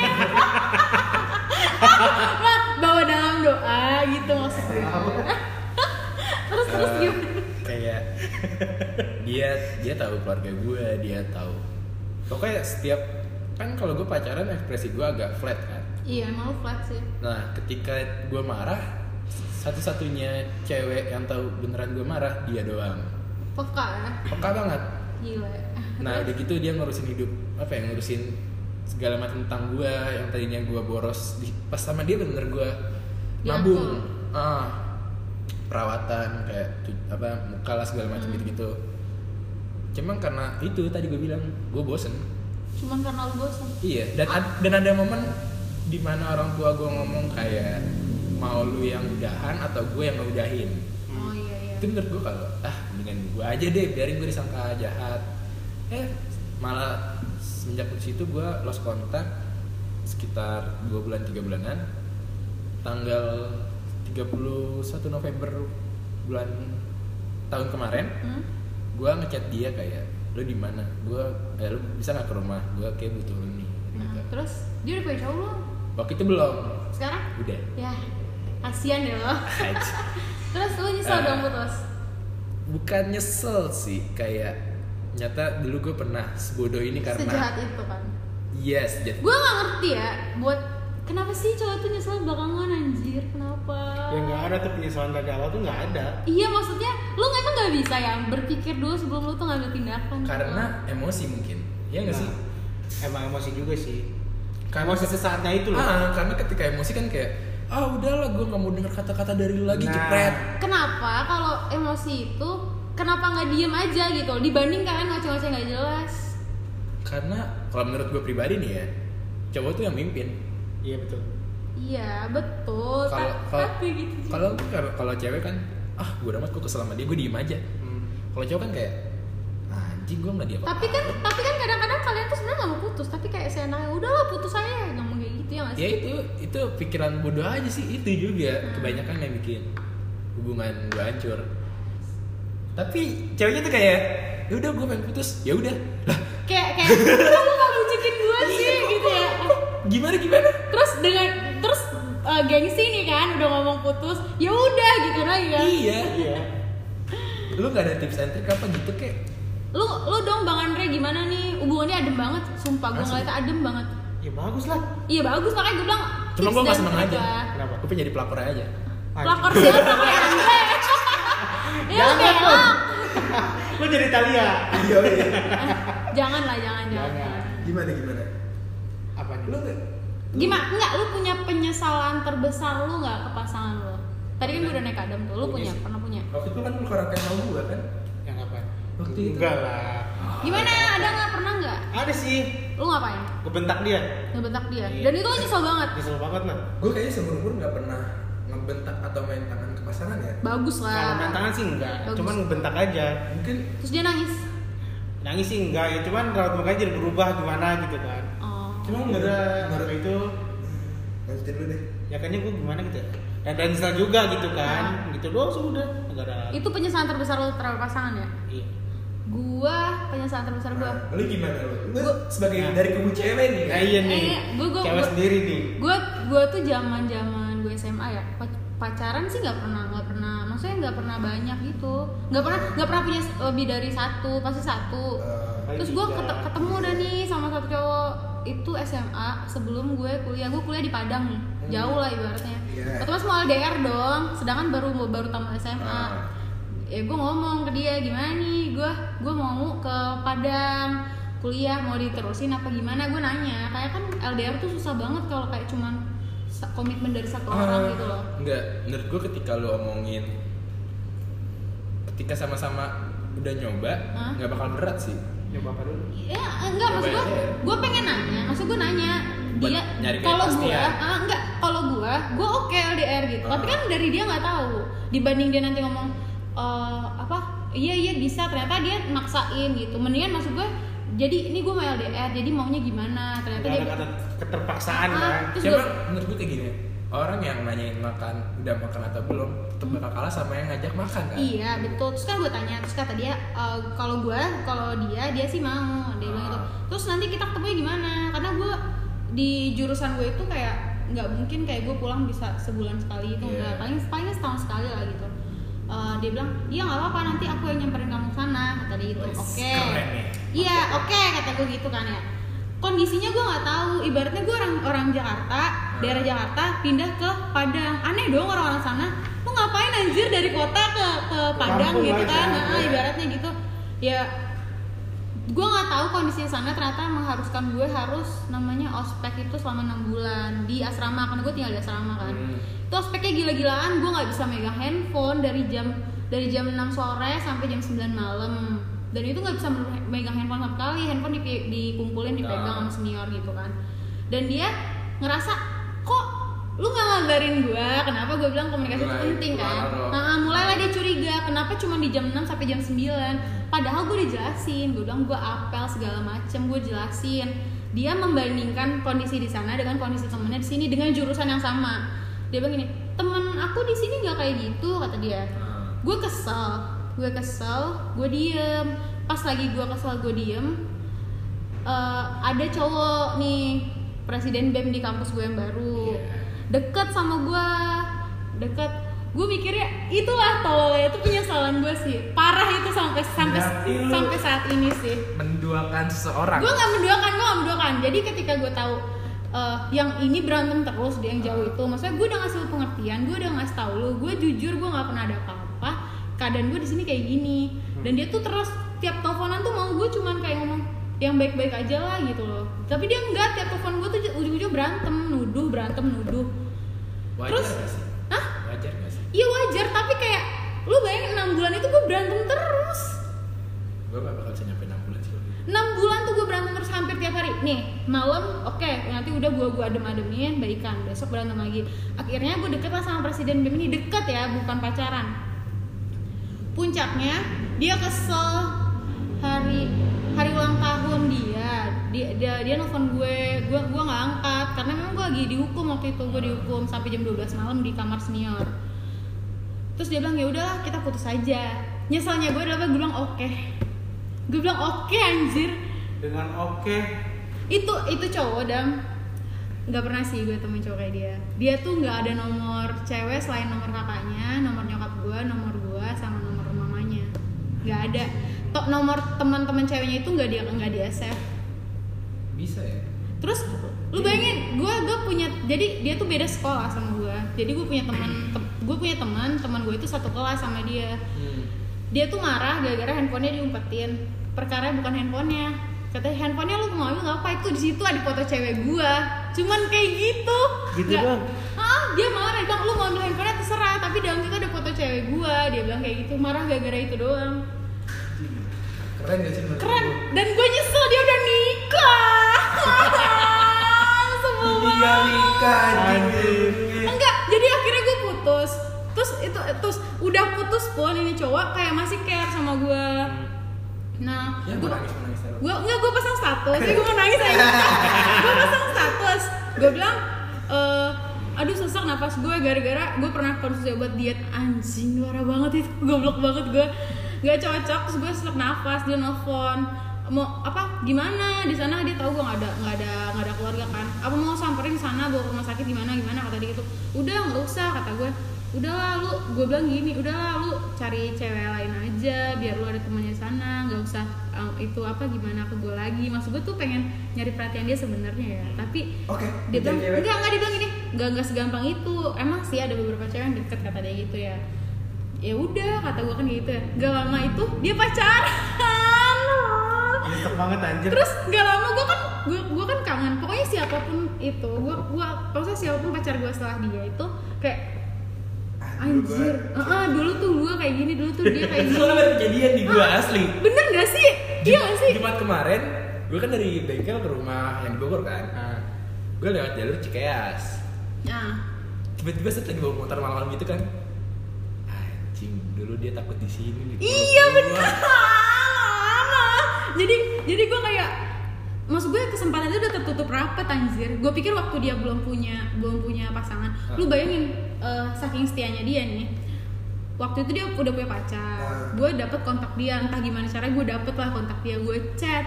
Wah, [laughs] bawa dalam doa gitu maksudnya Terus, terus Eh, gimana? kayak [laughs] dia dia tahu keluarga gue dia tahu pokoknya setiap kan kalau gue pacaran ekspresi gue agak flat kan Iya, emang lu flat sih nah ketika gue marah satu-satunya cewek yang tahu beneran gue marah dia doang Peka ya? peka banget Gila ya. nah udah gitu dia ngurusin hidup apa ya ngurusin segala macam tentang gue yang tadinya gue boros di, pas sama dia bener gue nabung ah, perawatan kayak cu- apa muka lah segala macam Hmm. gitu gitu cuman karena itu tadi gue bilang gue bosen Cuman karena lu bosan iya dan ad- dan ada momen dimana orang tua gue ngomong kayak mau lu yang udahan atau gue yang ngeudahin Oh iya iya. Hmm. itu menurut gue kalau ah mendingan gue aja deh biarin gue disangka jahat eh malah semenjak dari situ gue lost kontak sekitar 2 bulan 3 bulanan tanggal 31 November bulan tahun kemarin Hmm? gue ngechat dia kayak lo di mana gue eh, lo bisa nggak ke rumah gue kayak butuh lo nih gitu. Nah, terus dia udah punya cowok belum? waktu itu belum Sekarang? udah Ya, kasihan ya lo. Haj. Terus lu nyesel Eh. dong putus. bukan nyesel sih kayak nyata dulu gue pernah sebodoh ini karena Sejahat itu kan. Yes, jadi Gue gak ngerti ya buat kenapa sih cowok tuh nyesel belakangan anjir? Kenapa? yang Ya nggak ada tuh penyesalan dari awal tuh nggak ada Iya maksudnya lu emang gak bisa ya berpikir dulu sebelum lu tuh ngambil tindakan. karena emosi mungkin. Iya nggak Nah, sih? emang emosi juga sih Karena- emosi sesaatnya itu loh Ah, karena ketika emosi kan kayak ah udahlah gue nggak mau dengar kata-kata dari lu lagi Nah. jepret. Kenapa kalau emosi itu kenapa nggak diem aja gitu? Dibanding kan ngoceh-ngoceh nggak jelas. Karena kalau menurut gue pribadi nih ya, cowok tuh yang mimpin. iya betul Iya betul. Kalau Ta- kalau tapi gitu. juga. kalau kalau- kalau cewek kan ah gue udah gue kesel sama dia gue diem aja. Hmm. Kalau cowok kan kayak anjing gue nggak dia apa-apa." tapi kan tapi kan kadang-kadang kalian tuh sebenarnya nggak mau putus tapi kayak seenaknya udahlah putus aja ngomong kayak gitu ya nggak ya sih itu itu pikiran bodoh aja sih itu juga kebanyakan yang bikin hubungan gue hancur tapi ceweknya tuh kayak ya udah gue pengen putus ya udah lah kayak kayak "Kok lu nggak bujukin gue Iya, sih gitu ya gimana gimana terus dengan terus eh, gengsi nih kan udah ngomong putus ya udah gitu lagi kan iya iya lu gak ada tips and trick apa gitu kayak lu lu dong bang Andre gimana nih hubungannya adem banget sumpah gue Asli. ngeliatnya adem banget ya bagus lah iya bagus makanya gue bilang cuma tips gue gak dan seneng trik aja lah. Kenapa? gue pengen jadi pelakor aja pelakor siapa kayak [laughs] Andre ya Jangan, kayak Bang. lo jadi Talia iya iya Eh, jangan lah jangan jangan, Jangan. gimana gimana apa nih lu gak Gimana? Enggak, lu punya penyesalan terbesar lu nggak ke pasangan lu? Tadi kan gue udah naik adam tuh, lu Punya punya, sih. pernah punya. waktu itu kan lu korakan sama gue kan yang apa Waktu itu. enggak lah Gimana? Ada nggak pernah nggak? ada sih Lu ngapain? kebentak dia Ngebentak dia. Iya. Dan itu lo nyesel banget. kesel banget lah Gue kayaknya seumur umur nggak pernah ngebentak atau main tangan ke pasangan ya. Bagus kalau main lah. tangan sih enggak Bagus. cuman ngebentak aja Mungkin Terus dia nangis. nangis sih enggak ya cuman raut mukanya jadi berubah gimana gitu kan Oh. cuma Menurut- udah menurut- apa itu lanjutin dulu deh. ya kayaknya gue gimana gitu ya dan dansa juga gitu Ah. kan gitu doang sudah enggak ada Itu penyesalan terbesar lo terhadap pasangan ya? Iya. Gua penyesalan terbesar gua. Nah, lu gimana lu? Lu Gua- sebagai Nah. dari kubu cewek nih. Nah iya nih, Eh, gua- gua- cewek gua- sendiri nih. Gua gua tuh zaman-zaman gue SMA ya. pac- pacaran sih nggak pernah nggak pernah maksudnya nggak pernah banyak gitu nggak pernah nggak pernah punya lebih dari satu pasti satu Eh, Terus gue ketemu udah nih sama satu cowok itu SMA sebelum gue kuliah gue kuliah di Padang nih jauh lah ibaratnya Hmm. Iya. ketemu semua LDR dong sedangkan baru baru tamat SMA Ah. ya gue ngomong ke dia gimana nih gue gue mau ke Padang kuliah mau diterusin apa gimana gue nanya kayak kan LDR tuh susah banget kalau kayak cuman sa- komitmen dari satu Ah. orang gitu loh Enggak, Eh, menurut gue ketika lu omongin ketika sama-sama udah nyoba, Hah? nggak bakal berat sih. Coba apa dulu? Ya enggak maksud gue, gue pengen nanya, maksud gue nanya Buat dia nyari kalau gue, kepastian. ah, enggak kalau gue, gue oke LDR gitu. Tapi Ah. kan dari dia nggak tahu. Dibanding dia nanti ngomong eh, apa, iya iya bisa, ternyata dia maksain gitu. Mendingan maksud gue, jadi ini gue mau LDR, jadi maunya gimana? Ternyata Gak dia ada kata keterpaksaan Ah, kan. Terus Siapa gua- menurut gue kayak gini, orang yang nanyain makan udah makan atau belum tetap bakal kalah sama yang ngajak makan kan. Iya betul. Terus kan gue tanya, terus kata dia "Eh, kalau gue, kalau dia dia sih mau. Dia bilang gitu. Ah. Terus nanti kita ketemunya gimana? Karena gue di jurusan gue itu kayak nggak mungkin kayak gue pulang bisa sebulan sekali itu Iya. nggak paling paling setahun sekali lah gitu. Eh, dia bilang iya nggak apa-apa nanti aku yang nyamperin kamu ke sana kata dia gitu. Wes, Oke. keren nih. Iya oke kata gue gitu kan ya. Kondisinya gue nggak tahu. Ibaratnya gue orang orang Jakarta, Hmm. daerah Jakarta pindah ke Padang. Aneh dong orang-orang sana. Lu ngapain anjir dari kota ke ke Padang Kampung gitu aja, kan? iya. Nah, ibaratnya gitu. Ya gue nggak tahu kondisinya sana ternyata mengharuskan gue harus namanya ospek itu selama enam bulan di asrama karena gue tinggal di asrama kan Hmm. itu ospeknya gila-gilaan gue nggak bisa megang handphone dari jam dari jam 6 sore sampai jam 9 malam dan itu nggak bisa mer- megang handphone sama sekali handphone dipi- dikumpulin dipegang sama senior gitu kan dan dia ngerasa kok lu nggak ngabarin gue kenapa gue bilang komunikasi itu Mulai penting kan keluar oh. dong. nah mulailah dia curiga kenapa cuma di jam 6 sampai jam 9 padahal gue dijelasin gue bilang gue apel segala macem gue jelasin dia membandingkan kondisi di sana dengan kondisi temennya di sini dengan jurusan yang sama dia bilang gini temen aku di sini nggak kayak gitu kata dia Nah, gue kesel gue kesel gue diem pas lagi gue kesel gue diem eh, ada cowok nih presiden bem di kampus gue yang Iya. baru deket sama gue deket gue mikirnya itulah tololnya itu penyesalan gue sih parah itu sampai sampai Berarti lu- sampai saat ini sih menduakan seseorang. gue nggak menduakan gue nggak menduakan jadi ketika gue tahu eh, yang ini berantem terus dia yang jauh itu maksudnya gue udah ngasih lu pengertian gue udah ngasih tahu lu gue jujur gue nggak pernah ada apa-apa keadaan gue di sini kayak gini dan dia tuh terus tiap teleponan tuh mau gue cuman kayak ngomong yang baik-baik aja lah gitu loh tapi dia enggak tiap telepon gue tuh ujung-ujung berantem nuduh berantem nuduh Wajar terus- gak sih? Hah? Wajar gak sih? iya wajar tapi kayak lu bayangin enam bulan itu gue berantem terus Gue gak bakal bisa nyampe 6 bulan sih. 6 bulan tuh gue berantem terus hampir tiap hari nih malam oke nanti udah gue gue adem ademin baikan besok berantem lagi akhirnya gue deket lah sama presiden bem ini deket ya bukan pacaran puncaknya dia kesel hari hari ulang tahun dia dia dia, dia nelfon gue gue gue nggak angkat karena memang gue lagi dihukum waktu itu gue dihukum sampai jam 12 malam di kamar senior terus dia bilang ya udahlah kita putus aja nyeselnya gue adalah gue bilang oke gue bilang oke anjir Dengan oke, itu itu cowok dam nggak pernah sih gue temen cowok kayak dia dia tuh nggak ada nomor cewek selain nomor kakaknya nomor nyokap gue nomor gue sama nomor mamanya nggak ada tok nomor teman-teman ceweknya itu nggak dia nggak di save Bisa ya? terus lu bayangin gue gue punya jadi dia tuh beda sekolah sama gue jadi gue punya teman gue punya teman teman gue itu satu kelas sama dia Hmm. dia tuh marah gara-gara handphonenya diumpetin perkara bukan handphonenya katanya handphonenya lu mau ambil nggak apa itu di situ ada foto cewek gua cuman kayak gitu Gitu Nggak- doang? ah dia marah dia bilang lu mau ambil handphonenya terserah tapi dalam situ ada foto cewek gua dia bilang kayak gitu marah gara-gara itu doang Keren gak sih menurut keren lu? dan gue nyesel dia udah nikah [laughs] Iya, terus udah putus pun ini cowok kayak masih care sama gue nah ya gue gua- nangis nangis terus gue enggak gue pasang status ya gue mau nangis aja gue pasang status gue bilang eh aduh sesak napas gue gara-gara gue pernah konsumsi obat diet anjing parah banget itu [laughs] goblok banget gue nggak cocok terus gue sesak nafas dia nelfon mau apa gimana di sana dia tahu gue nggak ada nggak ada nggak ada keluarga kan apa mau samperin sana bawa ke rumah sakit gimana gimana kata dia gitu udah nggak usah kata gue udah lu gue bilang gini udah lu cari cewek lain aja biar lu ada temannya sana nggak usah um, itu apa gimana ke gue lagi maksud gue tuh pengen nyari perhatian dia sebenarnya ya tapi Oke, dia bilang cewek. [laughs] enggak enggak dia bilang gini enggak enggak segampang itu emang sih ada beberapa cewek yang deket kata dia gitu ya ya udah kata gue kan gitu ya gak lama itu dia pacaran [laughs] Nyesek banget anjir. terus gak lama gue kan gue gue kan kangen pokoknya siapapun itu gue gue maksudnya siapapun pacar gue setelah dia itu kayak anjir Eh, eh, dulu tuh gue kayak gini dulu tuh dia kayak itu [laughs] gini kan kejadian di gue asli bener gak sih iya gak sih Jumat kemarin gue kan dari bengkel ke rumah yang di Bogor kan Ah. gue lewat jalur Cikeas nah tiba-tiba set lagi bawa motor malam-malam gitu kan anjing dulu dia takut di sini di Iya Bogor. bener. Lama. Jadi jadi gue kayak maksud gue kesempatan itu udah tertutup rapat anjir. Gue pikir waktu dia belum punya belum punya pasangan. Lu bayangin eh, saking setianya dia nih. Waktu itu dia udah punya Nah. pacar. Gue dapet kontak dia entah gimana caranya gue dapet lah kontak dia. Gue chat.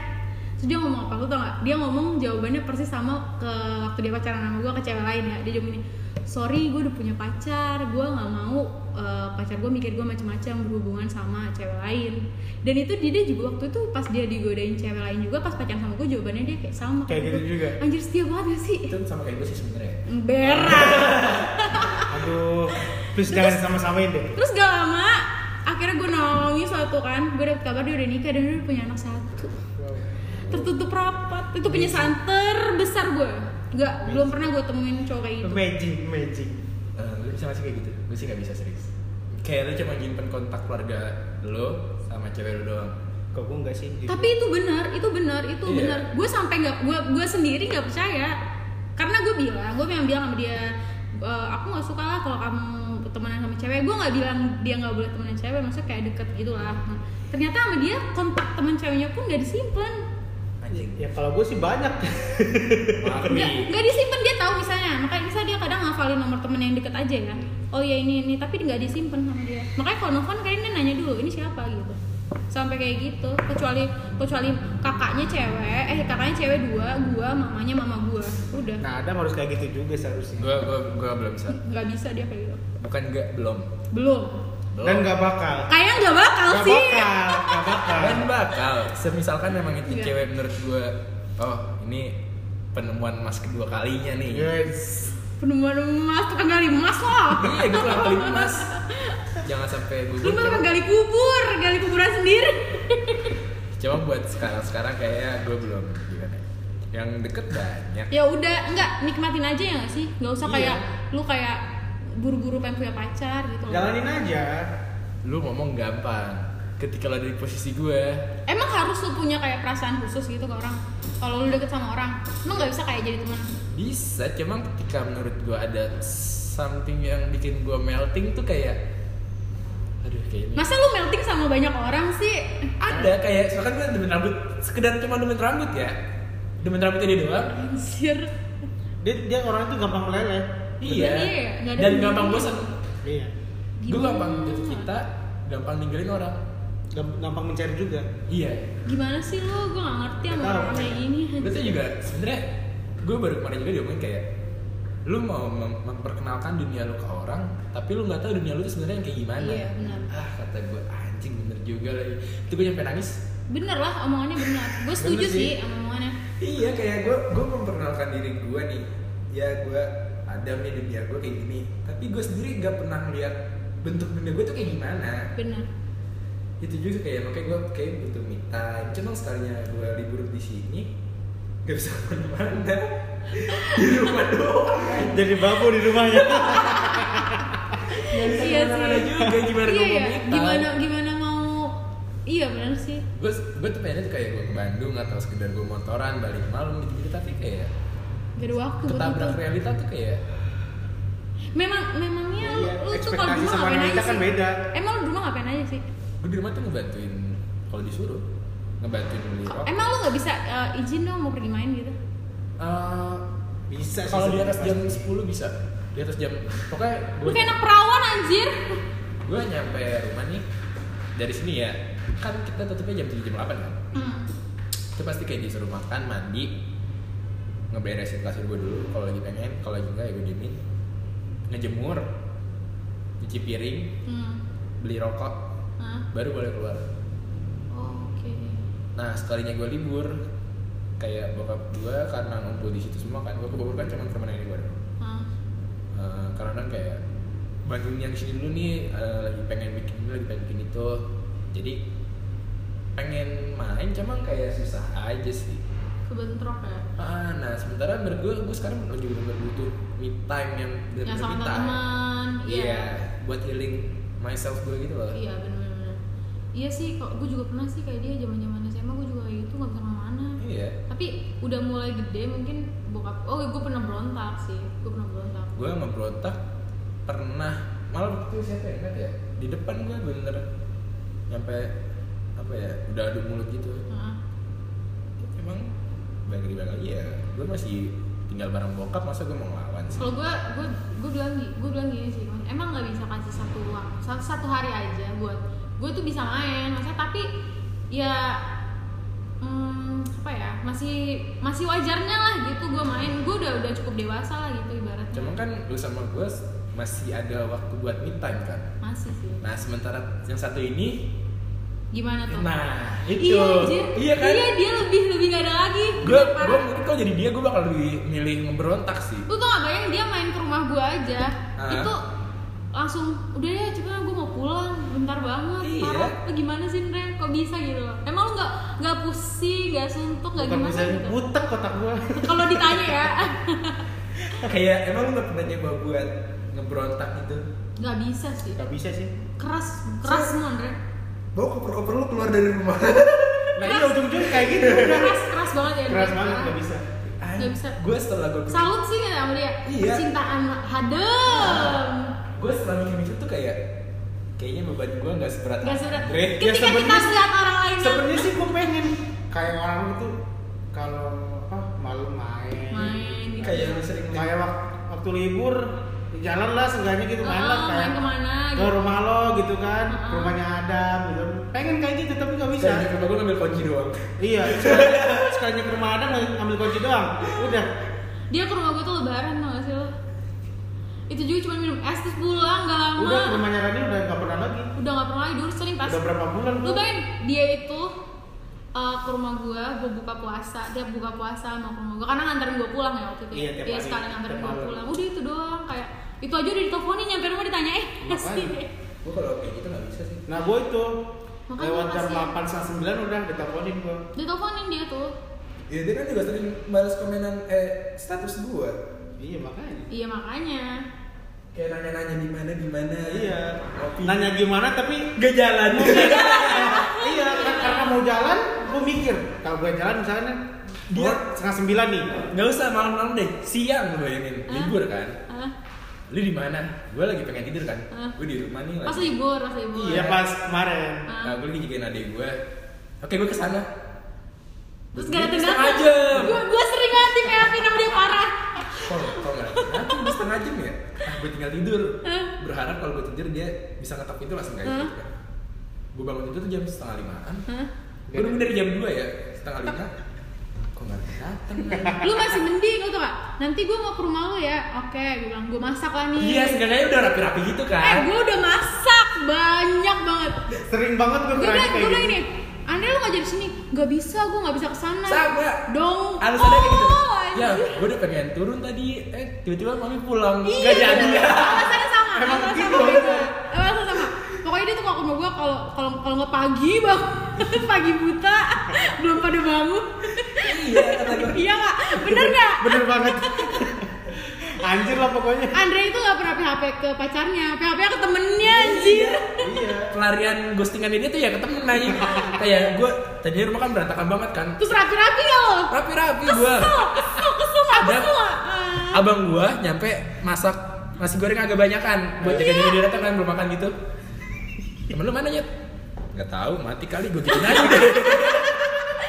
Terus dia ngomong apa lu tau gak? Dia ngomong jawabannya persis sama ke waktu dia pacaran sama gue ke cewek lain ya. Dia jawab gini, sorry gue udah punya pacar, gue nggak mau eh, pacar gue mikir gue macam-macam berhubungan sama cewek lain. Dan itu dia juga waktu itu pas dia digodain cewek lain juga pas pacaran sama gue jawabannya dia kayak sama Kayak gitu gue. juga. Anjir setia banget gak sih? itu sama kayak gue sih sebenarnya Berak. Aduh, please jangan sama-samain deh. Terus gak lama akhirnya gue nolongin suatu kan, gue dapet kabar dia udah nikah dan dia udah punya anak satu. tertutup rapat itu penyesalan terbesar gue nggak belum pernah gue temuin cowok kayak gitu Magic, magic. Eh, lu bisa masih kayak gitu gue sih nggak bisa serius kayak lu cuma nyimpen kontak keluarga lo sama cewek lu doang Kok gue enggak sih? Gitu. tapi itu benar itu benar itu Iya. benar gue sampai nggak gue gue sendiri nggak percaya karena gue bilang gue memang bilang sama dia e, aku nggak suka lah kalau kamu temenan sama cewek gue nggak bilang dia nggak boleh temenan cewek maksudnya kayak deket gitu lah Nah, ternyata sama dia kontak temen ceweknya pun nggak disimpan anjing Ya kalau gue sih banyak. maaf nggak Iya. nih nggak disimpan dia tahu misalnya makanya bisa dia kadang ngafalin nomor temen yang deket aja ya oh ya ini ini tapi nggak disimpan sama dia makanya kalau nelfon kayaknya dia nanya dulu ini siapa gitu sampai kayak gitu kecuali kecuali kakaknya cewek eh kakaknya cewek dua gua mamanya mama gua udah Nah, Adam harus kayak gitu juga seharusnya. gue gue gue belum bisa nggak bisa dia kayak gitu bukan nggak belum belum belum Dan nggak bakal. kayak nggak bakal Nggak sih bakal, nggak bakal. Dan bakal Ah. semisalkan memang itu Iya. cewek menurut gue oh ini penemuan mas kedua kalinya Iya. nih Yes. penemuan emas tukang gali emas loh iya gitu gue kurang kali mas jangan sampai lu gugur mah tukang coba, gali kubur gali kuburan sendiri coba buat sekarang sekarang kayaknya gue belum gimana ya. yang deket banyak ya udah enggak nikmatin aja ya nggak sih nggak usah Iya. kayak lu kayak buru-buru pengen punya pacar gitu loh. Jalanin aja. lu ngomong gampang ketika lo ada di posisi gue emang harus lu punya kayak perasaan khusus gitu ke orang kalau lu deket sama orang emang nggak bisa kayak jadi teman bisa cuman ketika menurut gue ada something yang bikin gue melting tuh kayak aduh kayaknya masa lu melting sama banyak orang sih ada kayak soalnya kan gue demen rambut sekedar cuma demen rambut ya demen rambutnya dia doang anjir Dia, dia orang itu gampang meleleh. Iya. Iya, nggak ada Dan gunanya. gampang bosan. Iya. Gue gampang jatuh cinta, gampang ninggalin orang. Gamp- Gampang mencari juga. Iya. gimana sih lu gue nggak ngerti sama Nggak tahu. orang kayak gini Gue tuh juga sebenarnya gue baru kemarin juga diomongin kayak lu mau mem- memperkenalkan dunia lu ke orang, tapi lu nggak tahu dunia lu tuh sebenarnya yang kayak gimana. Iya, benar. Ah kata gue anjing bener juga lagi. Itu gue nyampe nangis. bener lah omongannya bener gue setuju Bener sih sih. sama omongannya Iya kayak gue gue memperkenalkan diri gue nih. Ya gue ada nih dunia gue kayak gini. Tapi gue sendiri nggak pernah melihat bentuk dunia gue tuh kayak gimana. bener itu juga kayak makanya gue kayak butuh me time cuman sekalinya gue libur di sini gak bisa kemana-mana [laughs] di rumah doang Jadi babu di rumahnya. [laughs] iya kemana-mana sih juga gimana iya gue ya gimana gimana mau iya bener sih gue gue tuh pengennya tuh kayak gue ke Bandung atau sekedar gue motoran balik malam gitu gitu tapi kayak gak ada waktu buat ketabrak itu. realita tuh kayak Memang memangnya lu, Iya, lu tuh kalau di rumah ekspektasi sama ngapain aja wanita sih? kan beda. Gitu. Emang lu di rumah ngapain aja sih? gue di rumah tuh ngebantuin kalau disuruh ngebantuin beli Kok- rokok Emang lu nggak bisa eh, izin dong mau pergi main gitu? Eh, Bisa sih. kalau di atas jam sebenarnya. 10 bisa di atas jam pokoknya Lu gue kayak anak perawan anjir. gue nyampe rumah nih dari sini ya kan kita tutupnya jam 7 jam 8 kan Hmm. itu pasti kayak disuruh makan mandi ngeberesin kasur gue dulu kalau lagi pengen kalau lagi enggak ya gue diemin ngejemur cuci piring Hmm. beli rokok Hah? baru boleh keluar Oke. nah sekalinya gue libur kayak bokap gue karena ngumpul di situ semua kan gue ke Bogor kan cuma ke rumah nenek gue Hah? Eh, karena kayak bantuin yang sini dulu nih eh, lagi pengen bikin ini lagi pengen bikin itu jadi pengen main cuman kayak susah aja sih Kebentrok ya. Ah, nah sementara menurut gue gue sekarang lagi bener butuh me time yang bener-bener Yang sama me time. teman. iya buat healing myself gue gitu loh Iya benar-benar. Iya sih, kok gue juga pernah sih kayak dia zaman-zaman SMA gue juga kayak gitu nggak bisa kemana-mana. iya Tapi udah mulai gede mungkin bokap. Oh, gue pernah berontak sih. Gue pernah berontak. gue ngebrontak pernah malah waktu itu siapa ya ingat ya di depan gue bener nyampe apa ya udah adu mulut gitu Heeh. emang balik lagi balik lagi ya gue masih tinggal bareng bokap masa gue mau ngelawan sih Kalau gue, gue, gue bilang, gi- gue bilang gini sih, Mas, emang nggak bisa kasih satu waktu, satu, satu hari aja buat gue tuh bisa main, maksudnya tapi ya hmm, apa ya masih masih wajarnya lah gitu gue main, gue udah udah cukup dewasa lah gitu ibaratnya. cuman kan lu sama gue masih ada waktu buat me time kan masih sih. nah sementara yang satu ini Gimana tuh? nah itu Iya, anjir. iya kan Iya, dia lebih lebih gak ada lagi. gue Parah. gue mungkin kalau jadi dia gue bakal lebih milih ngeberontak sih lu tuh gak bayang dia main ke rumah gue aja. Ah. Itu langsung udah ya cepetan gue mau pulang bentar banget Iya. parah lu gimana sih Ren kok bisa gitu loh emang lu nggak nggak pusing nggak suntuk nggak Bukan gimana bisa gitu butek kotak gua. kalau ditanya ya [laughs] kayak emang lu gak pernah nyoba buat ngeberontak gitu nggak bisa sih Gak bisa sih. keras keras semua Ren bawa koper-koper lu keluar dari rumah Nah iya ujung-ujung kayak gitu. udah. keras keras banget ya Ren. Keras banget Parah. gak bisa. Gak bisa. gue setelah gue pikir salut sih sama dia Iya. cintaan hadem gue setelah mikir mikir tuh kayak kayaknya beban gue gak seberat Gak sudah. Andre. ya Ketika kita sebenarnya- lihat orang lain yang Sebenarnya sih gua pengen kayak orang itu kalau apa malu main. main gitu. kayak lu sering Kayak wak- waktu libur jalan lah seenggaknya gitu main Oh, lah kayak main kemana ke gitu. rumah lo gitu kan, Ah. ke rumahnya Adam gitu. Pengen kayak gitu tapi gak bisa. Kayak di rumah gue ngambil kunci doang [laughs] Iya, sekalinya- sekalinya ke rumah Adam ngambil kunci doang. Udah. Dia ke rumah gue tuh lebaran tau gak sih lo? Itu juga cuma minum es terus pulang gak lama. Udah ke rumahnya Radin udah gak pernah lagi. Udah gak pernah lagi dulu sering pas. Udah berapa bulan Lu gua. bayangin dia itu eh, ke rumah gue, gue buka puasa, tiap buka puasa mau ke rumah gue karena nganterin gue pulang ya waktu itu. Iya, tiap dia hari, sekali nganterin tiap gue malam. pulang. Udah itu doang kayak itu aja udah diteleponin nyampe rumah ditanya eh Makanya. [laughs] kasih deh. gue kalau kayak gitu gak bisa sih Nah, gue itu Makanya lewat jam makasih. 8 setengah 9 udah diteleponin gue. Diteleponin dia tuh. ya dia kan juga sering balas komenan eh status gue Iya, makanya. Iya makanya. kayak nanya-nanya di mana gimana Iya. Ngopi. Nanya gimana tapi gak gitu, jalan [laughs] iya, kar- karena mau jalan gue mikir kalau gue jalan misalnya Dia- Iya. dia setengah sembilan nih. Gak usah malam-malam deh, siang gue bayangin Hah? libur kan. Hah? Lu di mana? Gue lagi pengen tidur kan. Hah? Gue di rumah nih Pas lagi. libur, pas libur. Iya pas kemarin. Hah? Nah, gue lagi jagain adik gue. Oke, gue kesana. Terus gak ada Setengah tindakan. jam. Gua, gua sering banget di PHP sama dia parah. Kok, kok nggak? Nanti udah setengah jam ya. Ah, gue tinggal tidur. Hah? Berharap kalau gue tidur dia bisa ngetok pintu langsung kayak Hah? gitu kan. Gue bangun tidur tuh jam setengah limaan. Hah? Gue nunggu dari jam 2 ya, setengah lima. Kok nggak datang? Lu masih mending lu tuh kak. Nanti gua mau ke rumah lu ya. Oke, gue bilang gua masak lah nih. Iya, seenggaknya udah rapi-rapi gitu Eh, kan. gua udah masak banyak banget. Sering banget gue Gua kayak bilang, gua bilang gitu. ini. Andre lu gak jadi sini. Gak bisa, gua gak bisa kesana. Sama. Dong. Alasannya kayak gitu. Oh, Ya, anjir. gue udah pengen turun tadi. Eh, tiba-tiba mami pulang. Iya, Nggak jadi gitu. bener. ya. Alasannya [laughs] sama. Emang alasannya begitu, sama. emang. Emang alasannya sama. Pokoknya dia tuh kalau ke rumah gua kalau kalau kalau nggak pagi bang, [laughs] pagi buta, belum pada bangun. Iya, kata gue. iya kak, bener nggak? Bener banget. Anjir lah pokoknya. Andre itu nggak pernah PHP ke pacarnya, PHP ke temennya anjir. Iya. pelarian ghostingan dia tuh ya ketemu nanya kayak gue tadinya rumah kan berantakan banget kan Terus rapi-rapi ya lo. Eh. rapi rapi gue Kesel, kesel, kesel nggak Dan- kesel nggak? Eh, abang gue nyampe masak nasi goreng agak banyak kan buat jaga jaga di datang kan belum makan gitu temen lu mana nyet nggak tahu mati kali gue gituin aja deh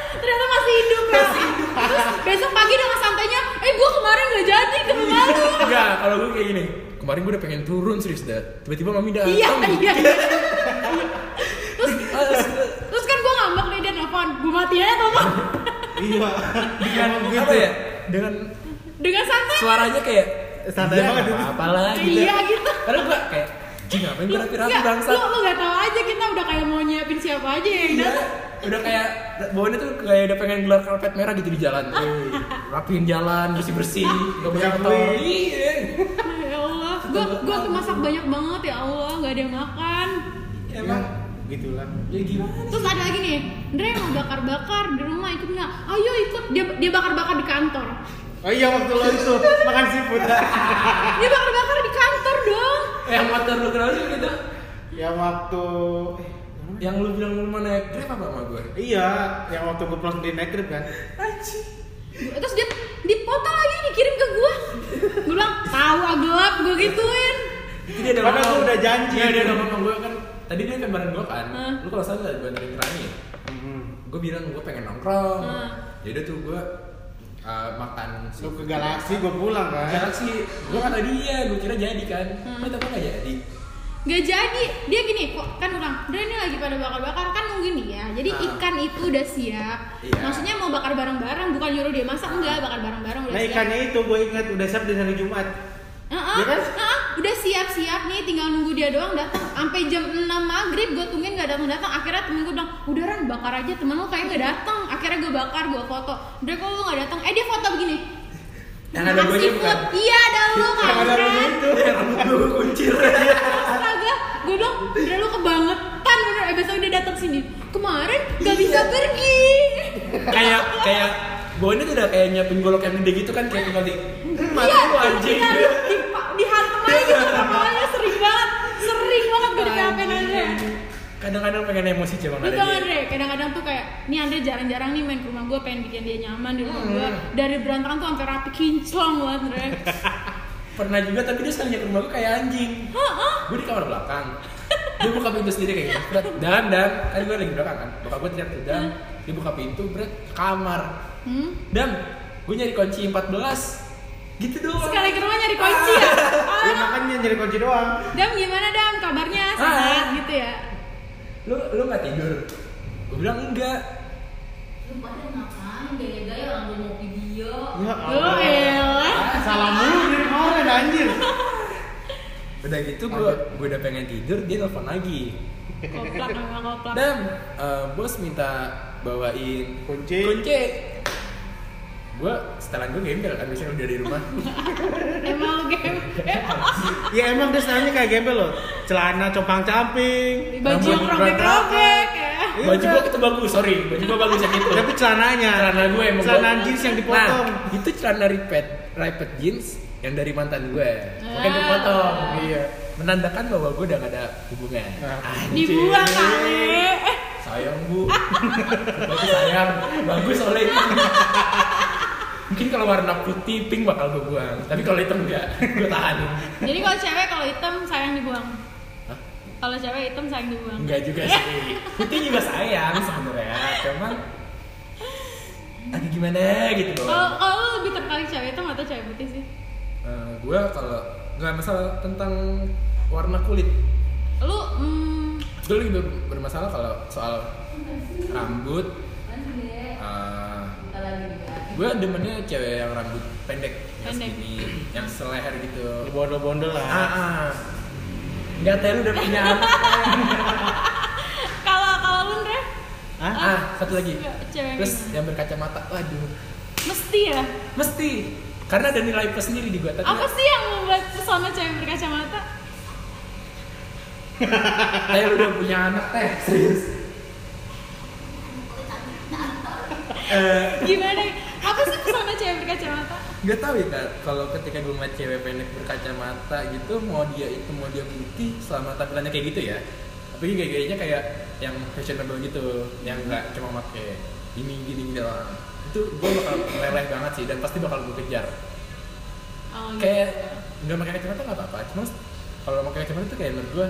Eh, ternyata masih hidup ya terus besok pagi dengan santainya eh gue kemarin nggak jadi ke Iya. rumah lu enggak kalau gue kayak gini kemarin gue udah pengen turun serius dah tiba-tiba mami datang iya iya iya. terus terus kan gue ngambek nih dia nelfon gue mati aja telepon iya dengan Emang gitu. apa ya dengan dengan santai suaranya kayak Santai "Iya, banget nggak itu." apa-apalah gitu iya gitu Iya, padahal gue kayak jing ngapain gue rapi-rapi Nggak, bangsat lu, lu gak tau aja kita udah kayak mau nyiapin siapa aja yang Iya, datang udah kayak bawaannya tuh kayak udah pengen gelar karpet merah gitu di [laughs] jalan rapiin jalan bersih bersih nggak boleh Diakuin. kotor Iya. ya Allah gue gue masak banyak banget ya Allah nggak ada yang makan emang Iya, gitulah ya gimana terus ada lagi nih Andre mau bakar bakar di rumah ikut nggak ayo ikut dia dia bakar bakar di kantor oh iya waktu lo itu makan seafood dia bakar bakar di kantor dong Eh, yang motor lu kenal sih gitu yang waktu eh, yang lu bilang lu mau naik grab apa sama gue iya yang waktu gue pulang di naik Grab kan anjing terus dia dipoto lagi dikirim ke gue gue bilang tahu ah gelap gue gituin Jadi dia ada Padahal ngomong. gua udah janji. Iya, dia udah ngomong gue kan tadi dia kan bareng gue kan Hmm. lu kalau salah gue anterin ke Rani Mm-mm. gue bilang gue pengen nongkrong Hmm. jadi tuh gue uh, makan lu ke seafood. galaksi gue pulang kan Galaxy, gue kata dia, gue kira jadi kan, hmm. tapi nggak jadi. nggak jadi dia gini kok kan orang Andre ini lagi pada bakar bakar kan nungguin dia jadi Ah. ikan itu udah siap Iya. maksudnya mau bakar bareng bareng bukan nyuruh dia masak enggak bakar bareng bareng udah nah siap ikannya itu gue ingat udah siap di hari Jumat Heeh, Ya kan? heeh, udah siap-siap nih, tinggal nunggu dia doang datang. Sampai jam 6 maghrib gue tungguin gak datang datang. Akhirnya temen gue bilang, udah Ran bakar aja temen lu kayak gak datang. Akhirnya gue bakar, gue foto. Udah kok lu gak datang? Eh dia foto begini. Yang ada Makan gue aja bukan? seafood. Iya ada lu kan. yang ada lu itu Gue kuncir. Astaga, gue bilang, udah lu kebangetan bener. Eh besok dia datang sini. Kemarin gak Iya. bisa pergi. kayak kayak gue ini tuh udah kayak nyiapin golok yang gede gitu kan kayak tinggal di Hmm, mati Iya, lu anjing. tinggal di, dihantem aja gitu kepalanya sering banget. Sering banget gue dikapain aja. Kadang-kadang pengen emosi coba nggak Lu ada tau dia. Andre, kadang-kadang tuh kayak Nih Andre jarang-jarang nih main ke rumah gue Pengen bikin dia nyaman di rumah gue Dari berantakan tuh sampai rapi kinclong loh Andre Pernah juga tapi dia sekali ke rumah gue kayak anjing. Heeh. Gue di kamar belakang. Dia buka pintu sendiri kayak gitu. Bret, Dan dan kan gue lagi di belakang kan. Bokap gue teriak tuh dan dia buka pintu bret ke kamar. hmm? Dan gue nyari kunci 14. Gitu doang. Sekali ke rumah nyari kunci ya ya Ah. makanya nyari kunci doang Dam gimana Dam, kabarnya sehat Ah. gitu ya lu lu nggak tidur gue bilang enggak Lu pada ngapain gaya-gaya ambil mobil dia ya Lu Oh, elah salah mulu dari kemarin anjir udah gitu gue gue udah pengen tidur dia telepon lagi Koplak sama koplak dan eh, bos minta bawain Kunci. kunci gue setelan gue gembel kan biasanya udah dari [laughs] rumah Emang lu game ya emang dia setelahnya kayak gembel loh celana compang camping Baju yang robek-robek ya Iya, baju kan? gue itu bagus sorry baju gue bagus yang itu tapi celananya celana gue emang celana bagus. jeans yang dipotong nah, itu celana ripet ripet jeans yang dari mantan gue makanya gue potong iya menandakan bahwa gue udah gak ada hubungan Nah, Anjing. Dibuang kali sayang bu Berarti sayang bagus oleh mungkin kalau warna putih pink bakal gue buang tapi kalau hitam enggak gue tahan Jadi kalau cewek kalau hitam sayang dibuang Hah? Kalau cewek hitam sayang dibuang enggak juga sih putih juga sayang sebenarnya cuman aduh gimana gitu Kalau loh kalau lu lebih tertarik cewek hitam atau cewek putih sih? Eh, gue kalau nggak masalah tentang warna kulit Lu mm, gue lebih ber- bermasalah kalau soal rambut Kan gede eh, Kita lagi juga gue demennya cewek yang rambut pendek, yang Pendek. segini, yang seleher gitu. bondel-bondel lah Ah, ah. Enggak tahu lu udah punya anak. [laughs] kalau kalau lu Andre Hah? ah, satu lagi. Enggak, cewek Terus gimana? yang berkacamata. Waduh. mesti ya. Mesti. Karena ada nilai plus sendiri di gua tadi. Apa sih yang membuat pesona cewek berkacamata? Teh lu udah punya anak teh, serius. Eh, Gimana? Apa sih pesona cewek berkacamata? nggak tahu ya kak kalau ketika gue ngeliat cewek pendek berkacamata gitu mau dia itu mau dia putih selama tampilannya kayak gitu ya tapi gaya-gayanya kayak yang fashionable gitu yang nggak cuma pakai ini gini gini doang itu gue bakal meleleh banget sih dan pasti bakal gue kejar Oh, gitu. kayak nggak pakai kacamata nggak apa-apa cuma kalau pakai kacamata tuh kayak menurut gue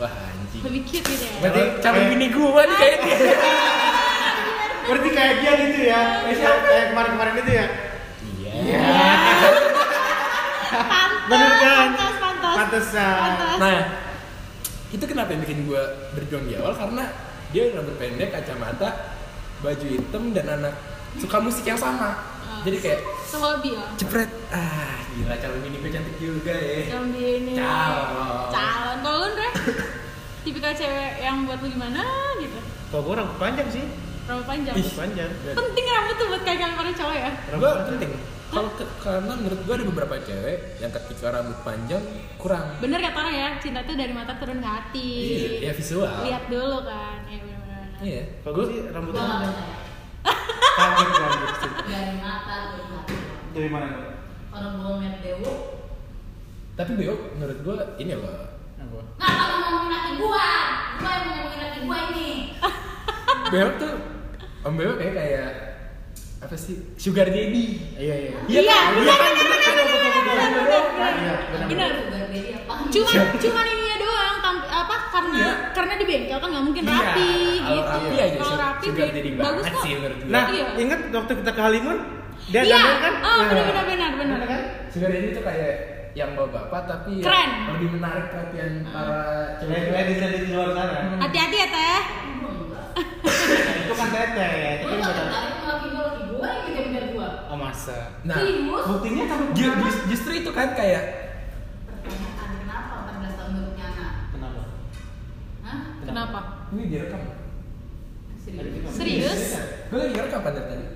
wah anjing lebih cute gitu ya berarti calon bini gue nih kayaknya Berarti kayak dia gitu ya. Kayak siapa- Kayak kemarin-kemarin itu ya. iya Bener kan? pantas pantas Pantesan. Pantas. nah itu kenapa yang bikin gue berjuang di awal karena dia rambut pendek kacamata baju hitam dan anak suka musik yang sama jadi kayak sehobi ya jepret ah gila calon bini gue cantik juga ya yang di ini Calon. calon kalau lu Ndre tipikal cewek yang buat lu gimana gitu Kalau gue rambut panjang sih. rambut panjang Rambut panjang. penting rambut tuh buat kalian para cowok ya gue penting kalau ke- karena menurut gue ada beberapa cewek yang ketika rambut panjang kurang bener kata orang ya cinta tuh dari mata turun ke hati iya visual lihat dulu kan ya bener-bener iya Kalau gue sih rambut Gua nggak panjang. percaya. Panjang rambut sih. Dari mata ke hati. Dari mana? Kalau gua ngeliat Dewo, tapi beo menurut gue ini loh Apa? nggak kalau ngomongin laki gua, gua yang ngomongin laki gua ini. beo tuh om beo kayak kayak apa sih sugar daddy Iya iya. Iya, kan? benar, kan? benar, benar, benar. Iya, Benar. Juga jadi apa? cuman cuman ininya doang tamp- apa karena Iya. karena di bengkel kan nggak mungkin Iya, rapi kalau gitu rapi aja kalau sih, rapi sugar bi- daddy bagus banget kok sih menurut gua. Nah, iya ingat waktu kita ke Halimun, dia iya dandan kan? oh Nah. benar benar benar benar Bener kan? sugar daddy tuh kayak yang bawa bapak tapi yang Keren. lebih menarik perhatian para Cewek-cewek cewek di sana di luar sana. hati-hati ya teh Hmm. Itu kan teteh. Eh, Gua Itu nggak bukan- tertarik sama laki gua, laki gua yang ngejar-ngejar gua. Oh masa? nah Serius? Buktinya kan ju- ju- justru itu kan kayak Pertanyaan kenapa 14 tahun baru punya anak? Kenapa? Hah? kenapa ini direkam Serius? Serius? gue lagi direkam kan dari tadi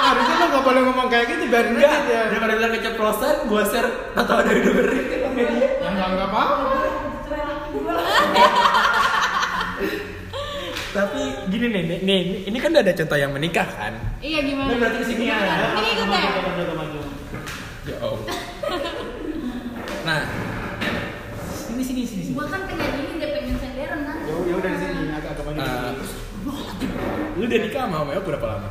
Ah, harusnya lo gak boleh ngomong kayak gitu, biarin aja Enggak, dia. daripada bilang keceplosan, gua share atau ada video beri ke media. Ya enggak enggak apa-apa. Cerai laki gua. Tapi gini nih, nih, nih, ini kan udah ada contoh yang menikah kan? iya gimana Nah, Ini berarti kesini ada. Ini ikut ya? Ya Allah. Nah, sini sini sini sini. Gua kan pengen ini dia pengen senderan kan? Jauh jauh dari ya sini agak agak maju. Eh, lu udah nikah sama Mel berapa lama?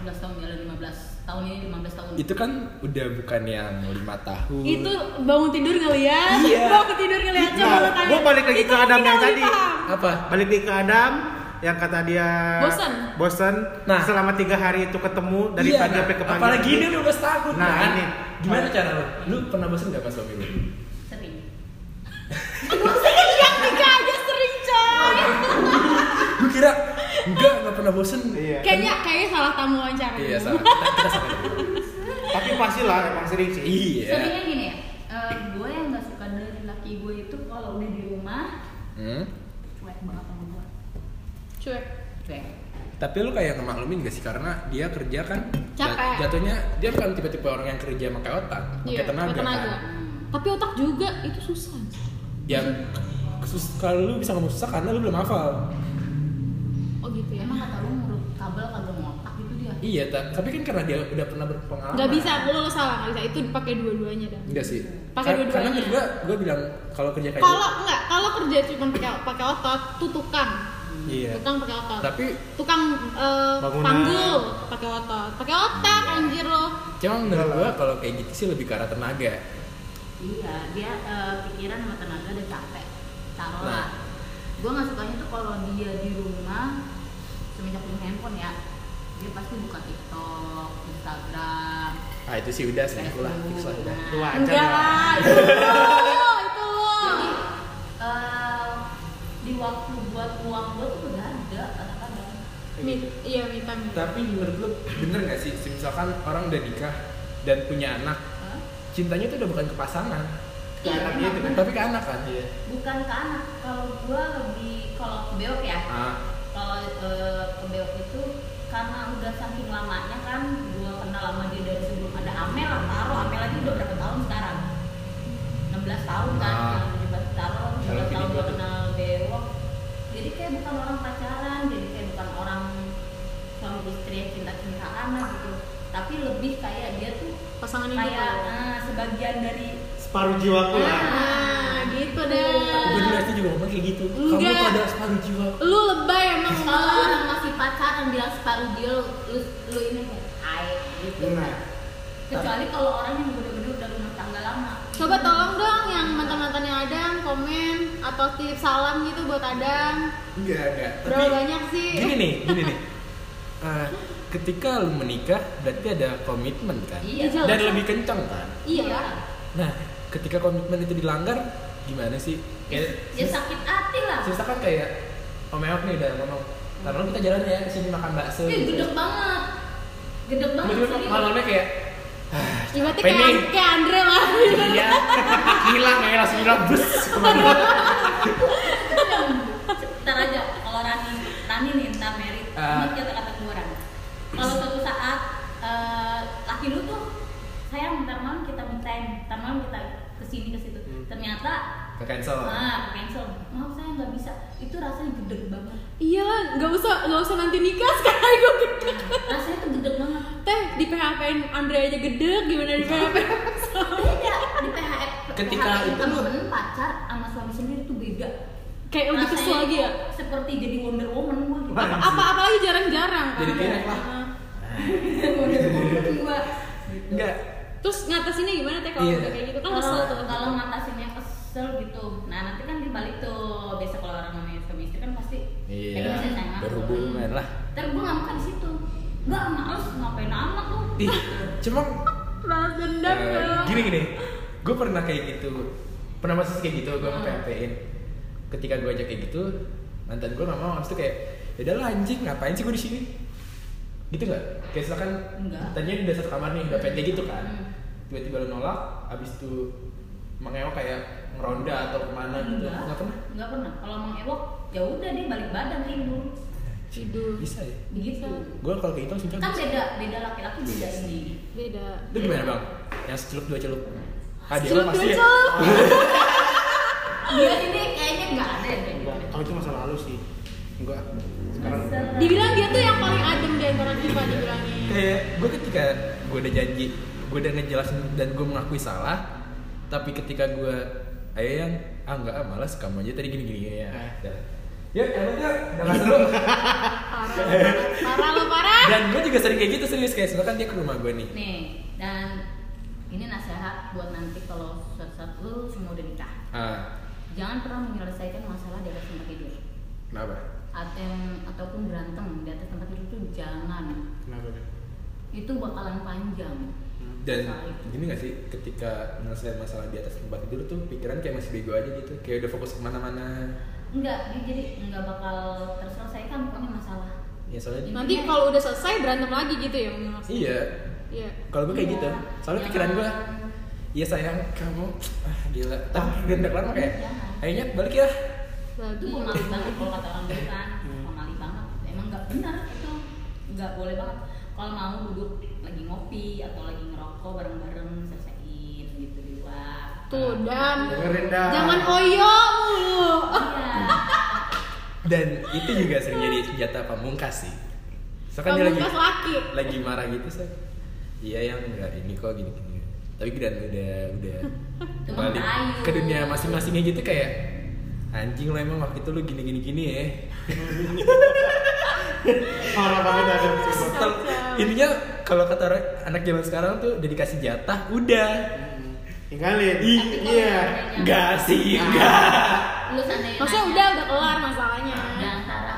14 tahun jalan 15 tahun ini 15 tahun. Itu kan udah bukan yang lima tahun. itu bangun tidur ngeliat Iya. bangun tidur ngeliat coba Nah, lu tanya. gua balik lagi Itu ke kan Adam kita yang lebih tadi. paham. apa? Balik lagi ke Adam yang kata dia Bosen. bosen Nah. selama tiga hari itu ketemu dari Iya, pagi nah, sampai ke pagi Apalagi ini udah setahun Nah, kan? ini. Gimana cara lu? Lu pernah bosan gak pas suami [laughs] lu? Sering. yang tiga aja sering coy Lu kira enggak enggak pernah bosan? Iya. kayaknya kayaknya salah tamu wawancara Iya, salah. [laughs] Kita- gitu. Kita salah. tapi pastilah emang sering sih Iya. Seringnya gini ya. eh, gue yang gak suka dari laki gue itu kalau udah di rumah Hmm. cuek banget sama gue. cuek Cuek. Tapi lu kayak ngemaklumin gak sih karena dia kerja kan Capek. jat- jatuhnya dia bukan tipe-tipe orang yang kerja pakai otak, pakai Iya, ya, tenaga, pakai tenaga. kan. tapi otak juga itu susah Yang sus- kalau lu bisa ngomong susah karena lu belum hafal. oh gitu ya Emang kata lu ngurut kabel kagak ngotak gitu dia. Iya, ta- tapi kan karena dia udah pernah berpengalaman. nggak bisa aku lo salah nggak bisa itu dipakai dua-duanya dah Enggak sih. Pakai Kar- dua-duanya. Karena menurut gua, gua bilang kalau Iya. kerja kayak kalau nggak kalau kerja cuma pakai pakai otot tuh tukang gitu- Iya. tukang pakai otot Tapi tukang eh, Bangunan. Iya. panggul pakai otot pakai otak anjir lo cuma menurut gua kalau kayak gitu sih lebih ke arah tenaga. Iya, dia eh, pikiran sama tenaga udah capek. Taruh Nah. lah. Gue gak sukanya tuh kalau dia di rumah semenjak punya handphone ya. Dia pasti buka TikTok, Instagram, Nah. Ah itu sih udah selingkuh Hmm. lah, fix lah udah. Dua aja enggak lah. lah itu lo itu lo Jadi, Iya. eh, di waktu buat uang gue tuh udah ada kadang-kadang. Mi- iya minta minta Tapi menurut lu bener gak sih misalkan orang udah nikah dan punya anak, Hah? cintanya tuh udah bukan ke pasangan, Ke anak Iya, gitu kan? tapi ke anak kan. Iya. Bukan ke anak, kalau gue lebih kalau beok ya. Ah, kalau eh, ke Beok itu karena udah saking lamanya kan gua kenal sama dia dari sebelum ada Amel lah taruh Amel aja udah berapa tahun sekarang 16 tahun kan Ah. nah, 17 tahun Kalau 17 tahun gini gua gua- kenal Beok jadi kayak bukan orang pacaran jadi kayak bukan orang suami istri yang cinta-cintaan lah gitu tapi lebih kayak dia tuh pasangan ini kayak eh, sebagian dari separuh jiwaku lah nah gitu deh gue juga pasti juga ngomong kayak gitu. Kamu Enggak. tuh ada separuh jiwa. lu lebay emang kalau malah orang masih pacaran dia bilang separuh dia lu lu, lu ini air gitu Nah. kecuali kalau orang yang bener-bener udah rumah tangga lama Coba tolong dong yang mantan-mantan yang Adam komen atau titip salam gitu buat Adam. Enggak, enggak. Berapa banyak sih? Gini nih, gini nih. Eh, ketika lu menikah berarti ada komitmen kan? Iya. Iya. Dan lebih kencang kan? Iya. Nah, ketika komitmen itu dilanggar gimana sih? ya, Kayak- ya sakit hati lah Sista kan kayak Om Eok nih udah ngomong Taruh kita jalan ya, sini makan bakso Ih, gitu. gedek banget gedek Iya, banget Tiba-tiba serius. malamnya kayak "Ah, Ibaratnya apa ini?" kayak, kayak Andre lah. Iya, [laughs] hilang ya, langsung hilang [laughs] bus Iya. ntar aja kalau Rani Rani nih ntar merit Ah. ini kita kata gue Rani kalau suatu saat eh, laki lu tuh sayang ntar malam kita mintain ntar malam kita kesini ke situ Hmm. ternyata Ke cancel ah cancel maaf saya nggak bisa itu rasanya gede banget Iya, nggak usah nggak usah nanti nikah sekarang gue gede. rasanya tuh gede banget Teh di PHP in Andre aja gede, gimana di PHP? beda di PHS Ketika itu lu- temen pacar sama suami sendiri tuh beda kayak lebih kesel Rasanya lagi ya. tuh seperti jadi Wonder Woman gue gitu Apa apa apalagi jarang-jarang kan. Jadi tirek lah. [laughs] Wonder Woman gue gitu. Enggak Terus ngatasinnya gimana teh kalau Iya. udah kayak gitu kan kalau kesel tuh. kalau ngatasinnya kesel gitu nah nanti kan dibalik tuh biasa kalau orang namanya suami istri kan pasti Iya, eh, bisa sayang aku. berhubungan lah. ntar gue ngamuk di situ nggak males ngapain anak lu Ih, cuma Balas dendam dong. gini-gini Gue pernah kayak gitu Pernah masih kayak gitu, gue Hmm. nge-PHP-in Ketika gue ajak kayak gitu Mantan gue gak mau, habis itu kayak Yaudah lah anjing, ngapain sih gue di sini? Gitu gak? Kayak misalkan Enggak. Tanya udah satu kamar nih, udah pengen kayak gitu kan Hmm. Tiba-tiba lu nolak, habis itu Mengeok kayak ngeronda atau kemana gitu Enggak. Gak pernah? nggak pernah kalau mau ewok ya udah dia balik badan tidur Tidur. Bisa ya? begitu Gue kalau kayak gitu langsung kan cabut beda beda laki-laki beda sendiri Beda. Itu gimana bang? Yang secelup dua celup? Ah, dia Celup kan dua pasti ya? celup. dia ini kayaknya nggak ada yang kayak gitu. Enggak, kalau itu masa lalu sih. Enggak. Sekarang Dibilang dia tuh yang paling adem di antara kita dibilangnya. kayak gue ketika gue udah janji gue udah ngejelasin dan gue mengakui salah tapi ketika gue ayo yang ah nggak ah malas kamu aja tadi gini gini ya Ah. udah ya enak ya jangan dulu Parah, parah lo parah. dan gue juga sering kayak gitu serius kayak misalkan dia ke rumah gue nih nih dan ini nasihat buat nanti kalau suatu saat lu semua udah nikah ah jangan pernah menyelesaikan masalah di atas tempat tidur kenapa atau ataupun berantem di atas tempat tidur tuh jangan kenapa deh? itu bakalan panjang dan gini gak sih ketika menyelesaikan masalah di atas tempat tidur tuh pikiran kayak masih bego aja gitu kayak udah fokus kemana-mana enggak dia jadi enggak bakal terselesaikan pokoknya masalah ya soalnya Nanti kalau udah selesai berantem lagi gitu ya mungkin maksudnya. iya Iya. kalau gue kayak Iya. gitu soalnya Jangan. pikiran gue iya sayang kamu ah gila tapi udah udah kelar mah kayak Jangan. akhirnya balik ya itu Babi. pemali banget kalau kata orang dulu kan Hmm. pemali banget emang nggak benar itu nggak boleh banget kalau mau duduk lagi ngopi atau lagi ngerokok bareng-bareng selesaiin gitu di luar Tuh, Dam. Dengerin dah. Jangan oyo mulu. Iya. dan itu juga sering jadi senjata pamungkas sih soalnya kan dia lagi Pamungkas laki. lagi marah gitu sih iya yang enggak ini kok gini gini tapi dan udah udah Cuma balik kayu. ke dunia masing-masingnya gitu kayak anjing lo emang waktu itu lo gini gini gini ya Parah banget ada Kacau. Setel, intinya kalau kata orang anak zaman sekarang tuh udah dikasih jatah udah Tinggalin. Ih, Iya. Enggak sih, Ah. enggak. lu seandainya Maksudnya nanya, udah udah kelar masalahnya. di antara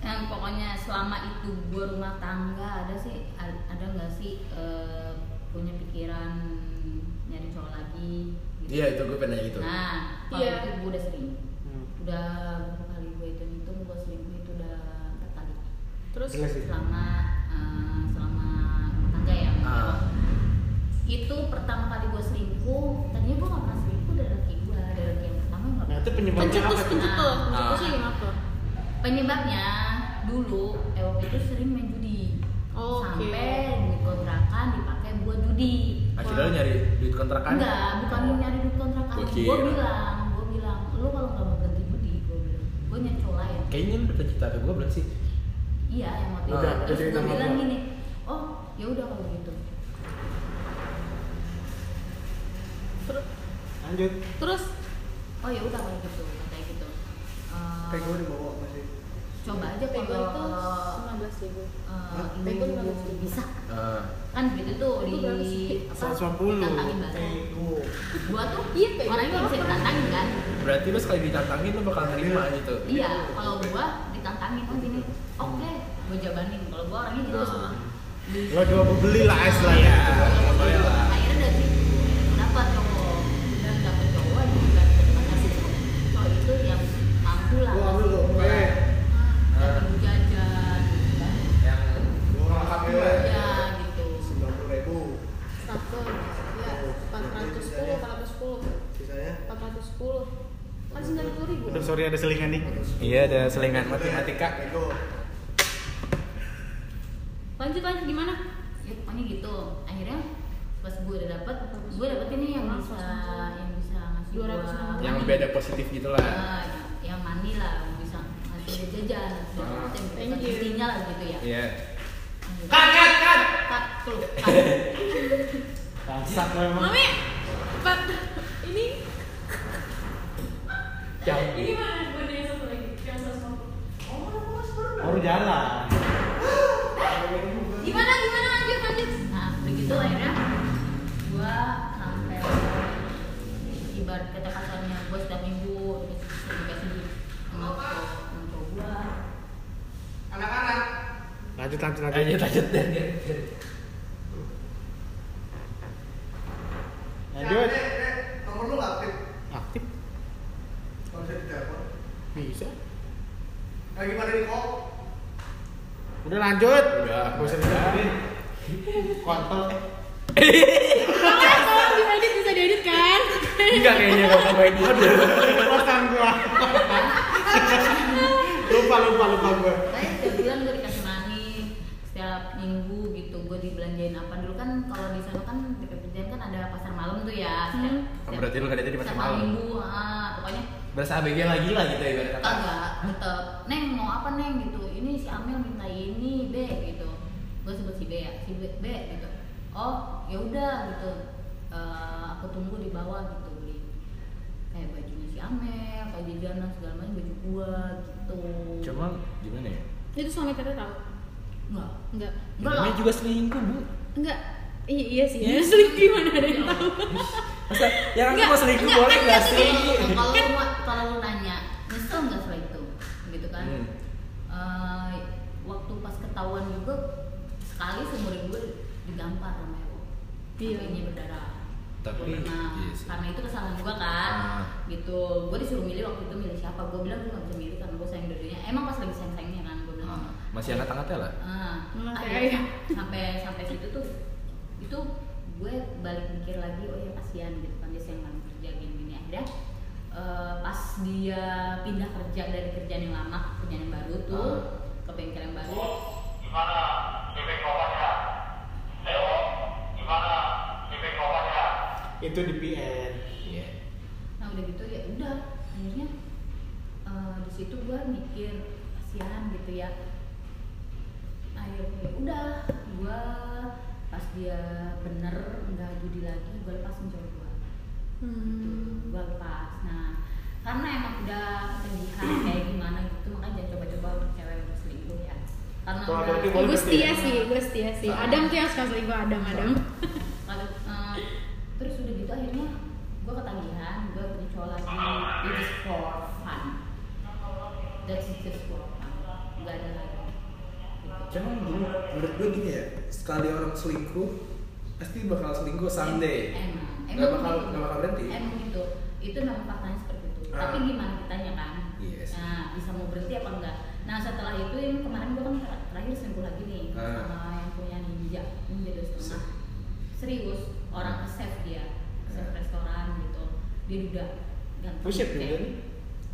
yang pokoknya selama itu gue rumah tangga ada sih a- ada nggak sih eh, punya pikiran nyari cowok lagi gitu. Iya, itu gue pernah gitu. nah kalau Iya. itu gue udah sering Hmm. udah berapa kali gue hitung hitung gue selingkuh itu udah empat kali Terus Jelas sih. selama eh, selama rumah tangga ya Ah. itu pertama kali gue selingkuh tadinya gue gak pernah selingkuh dari laki gue dari laki yang pertama gue Nah, gak itu penyebabnya apa pencetus tuh? pencetus Ah. pencetusnya kenapa? penyebabnya dulu Ewok itu sering main judi Oke. sampai duit kontrakan dipakai buat judi Akhirnya lo nyari duit kontrakan? Oh. enggak bukan nyari duit kontrakan Gua gue kira. bilang gue bilang lu kalau nggak mau berhenti judi gue bilang gue nyari cowok lain Kayaknya lo udah cerita ke gue belum sih? iya yang waktu itu Udah, terus udah gue ditambah bilang dua. gini oh ya udah kalau gitu Terus Lanjut. terus oh ya udah kalau gitu kayak gitu Eh, Kayak gue dibawa masih. coba aja Pego kalau itu 15 ribu. eh, Pego ibu-ibu 15.000. bisa Eh, kan gitu tuh Itu di berapa sih? apa 150 ditantangin bareng Ego. gua tuh Iya, Pego. orangnya nggak bisa ditantangin kan berarti lu sekali ditantangin lu bakal nerima gitu iya kalau gua ditantangin oh gini oke gua jabanin kalau gua orangnya gitu Nah. semua lo coba beli lah es lah ya boleh lah. akhirnya dari situ dapat cowok dan dapat cowok juga terima kasih cowok itu yang mampu lah Gua ambil dong, Gua- eh. Ah, dapat jajan gitu kan. yang Gua ambil ya gitu sembilan puluh ribu Satu, ya, 410, 410, sisanya 410. Kan 90 ribu. Aduh sorry ada selingan nih iya ada selingan matematika Ego lanjut lanjut gimana ya pokoknya gitu akhirnya pas gue udah dapet gue dapet ini yang bisa yang bisa ngasih gua 250. yang money. beda positif gitu gitulah Ah, yang mani lah yang bisa ngasih dia jajan Ah. yang Thank you. intinya lah gitu ya iya cut cut cut cut tuh cut. Bangsat lo emang Mami, Pak, ini ini mana gue dari satu lagi? Yang 150. Baru jalan Gimana gimana lanjut lanjut? nah begitu akhirnya gue sampai ibarat kata kasarnya gue setiap minggu dikasih duit sama cowok sama cowok gue Lanjut lanjut lanjut lanjut lanjut dan Lanjut Aktif Bisa Udah lanjut Udah. Gak usah dilanjutin Kontol eh Tolong tolong bisa edit bisa diedit kan? enggak kayaknya gak apa-apa ini Kosan gua Lupa lupa lupa gua Kayak setiap bulan gue dikasih money setiap minggu gitu gue dibelanjain apa dulu kan kalau di sana kan dekat kerjaan kan ada pasar malam tuh ya setiap, Hmm. setiap- Oh, Berarti lu nggak ada di pasar setiap malam? minggu ah, pokoknya berasa ABG lagi lah gitu ya ibarat kata kagak tetep neng mau apa neng gitu ini si Amel minta ini B gitu gue sebut si B ya si B, B gitu oh ya udah gitu Eh, aku tunggu di bawah gitu beli kayak bajunya si Amel kayak jajanan segala macam baju gua gitu cuma gimana ya Itu suami tete tahu? enggak Enggak. enggak lah namanya juga selingkuh bu Enggak. I- iya sih. Ya. Selingkuh gimana ada yang tahu? masa yang aku Enggak, mau selingkuh Hmm. enggak, boleh kan nggak nggak sih Kalau- kalau lu ma- kalau lu nanya nyesel nggak setelah itu gitu kan Hmm. Eh, waktu pas ketahuan juga sekali seumur gue digampar sama Ewo Iya. kakinya berdarah Tapi, Gua pernah. iya sih. karena itu kesalahan gue kan Ah. gitu gue disuruh milih waktu itu milih siapa gue bilang gue nggak bisa milih karena gue sayang dua-duanya emang pas lagi sayang-sayangnya kan gue bilang Ah, masih hangat-hangatnya lah Ah, Hmm, akhirnya kayak- sampai sampai situ tuh itu gue balik mikir lagi oh ya kasihan gitu kan dia siang malam kerja gini gini akhirnya eh, pas dia pindah kerja dari kerjaan yang lama ke kerjaan yang baru tuh Ah. ke bengkel yang baru Itu di PN iya nah udah gitu ya udah akhirnya eh, di situ gue mikir kasihan gitu ya akhirnya udah gue pas dia bener nggak judi lagi gue lepasin cowok gue Hmm. gue lepas nah karena emang udah [clears throat] ketindihan kayak gimana gitu makanya jangan coba-coba untuk cewek untuk selingkuh ya karena Kalau udah laki-laki Gue Boleh setia berarti ya? sih, gue setia sih. Ah. Adam tuh yang suka selingkuh Adam Adam. kalau eh, terus udah gitu akhirnya gue ketagihan gue punya cowok lagi it is for fun that's it just for fun gak ada lagi cuman dulu menurut gue gini ya sekali orang selingkuh pasti bakal selingkuh someday emang Nggak bakal- nggak bakal berhenti. emang gitu itu memang faktanya seperti itu Ah. tapi gimana kitanya kan Yes. nah bisa mau berhenti apa enggak nah setelah itu yang kemarin gua kan ter- terakhir selingkuh lagi nih Ah. sama yang punya ninja ninja dua setengah serius orang chef dia chef Ah. restoran gitu dia duda ganteng Buset kayak- juga nih.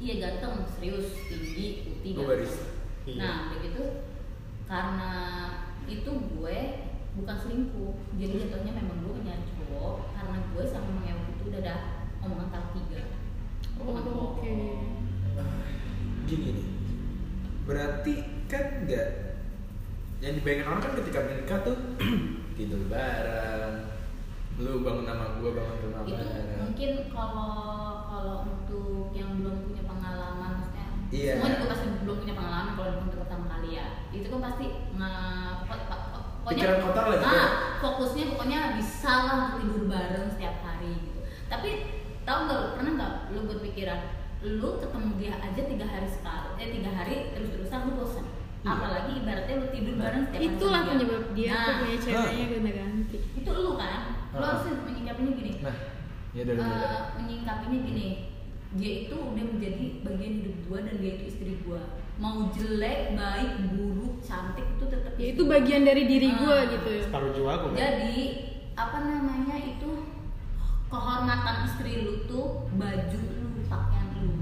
iya ganteng serius tinggi putih Gua ganteng. barista. Iya. nah begitu karena itu gue bukan selingkuh jadi jatuhnya memang gue nyari cowok karena gue sama Mang Ewo itu udah ada omongan kali tiga Oh, Omongan oke. cowok. Ah, gini nih berarti kan nggak yang dibayangin orang kan ketika menikah tuh [clears throat] tidur bareng lu bangun nama gua bangun rumah itu bareng mungkin kalau kalau untuk yang belum punya pengalaman maksudnya Iya. semua juga pasti belum punya pengalaman kalau untuk pertama kali ya itu kan pasti nge pokok- po- po- pokoknya Pikiran kotor lah gitu Ah, ya. fokusnya pokoknya bisa lah untuk tidur bareng setiap hari gitu tapi tahu nggak lu, pernah nggak lu berpikiran lu ketemu dia aja tiga hari sekali eh tiga hari terus terusan lu bosan Iya. apalagi ibaratnya lu tidur bareng setiap hari Itulah sama penyebab dia nah, tuh punya ceweknya ganti-ganti. itu lu kan lu Ah. harus menyikapinya gini Nah, ya dari Eh, dulu dah. menyingkapinya gini dia itu udah menjadi bagian hidup gua dan dia itu istri gua mau jelek baik buruk cantik itu tetap Ya itu bagian dari diri gue Ah. gitu. separuh jiwa aku kan jadi apa namanya itu kehormatan istri lu tuh baju lu pakaian lu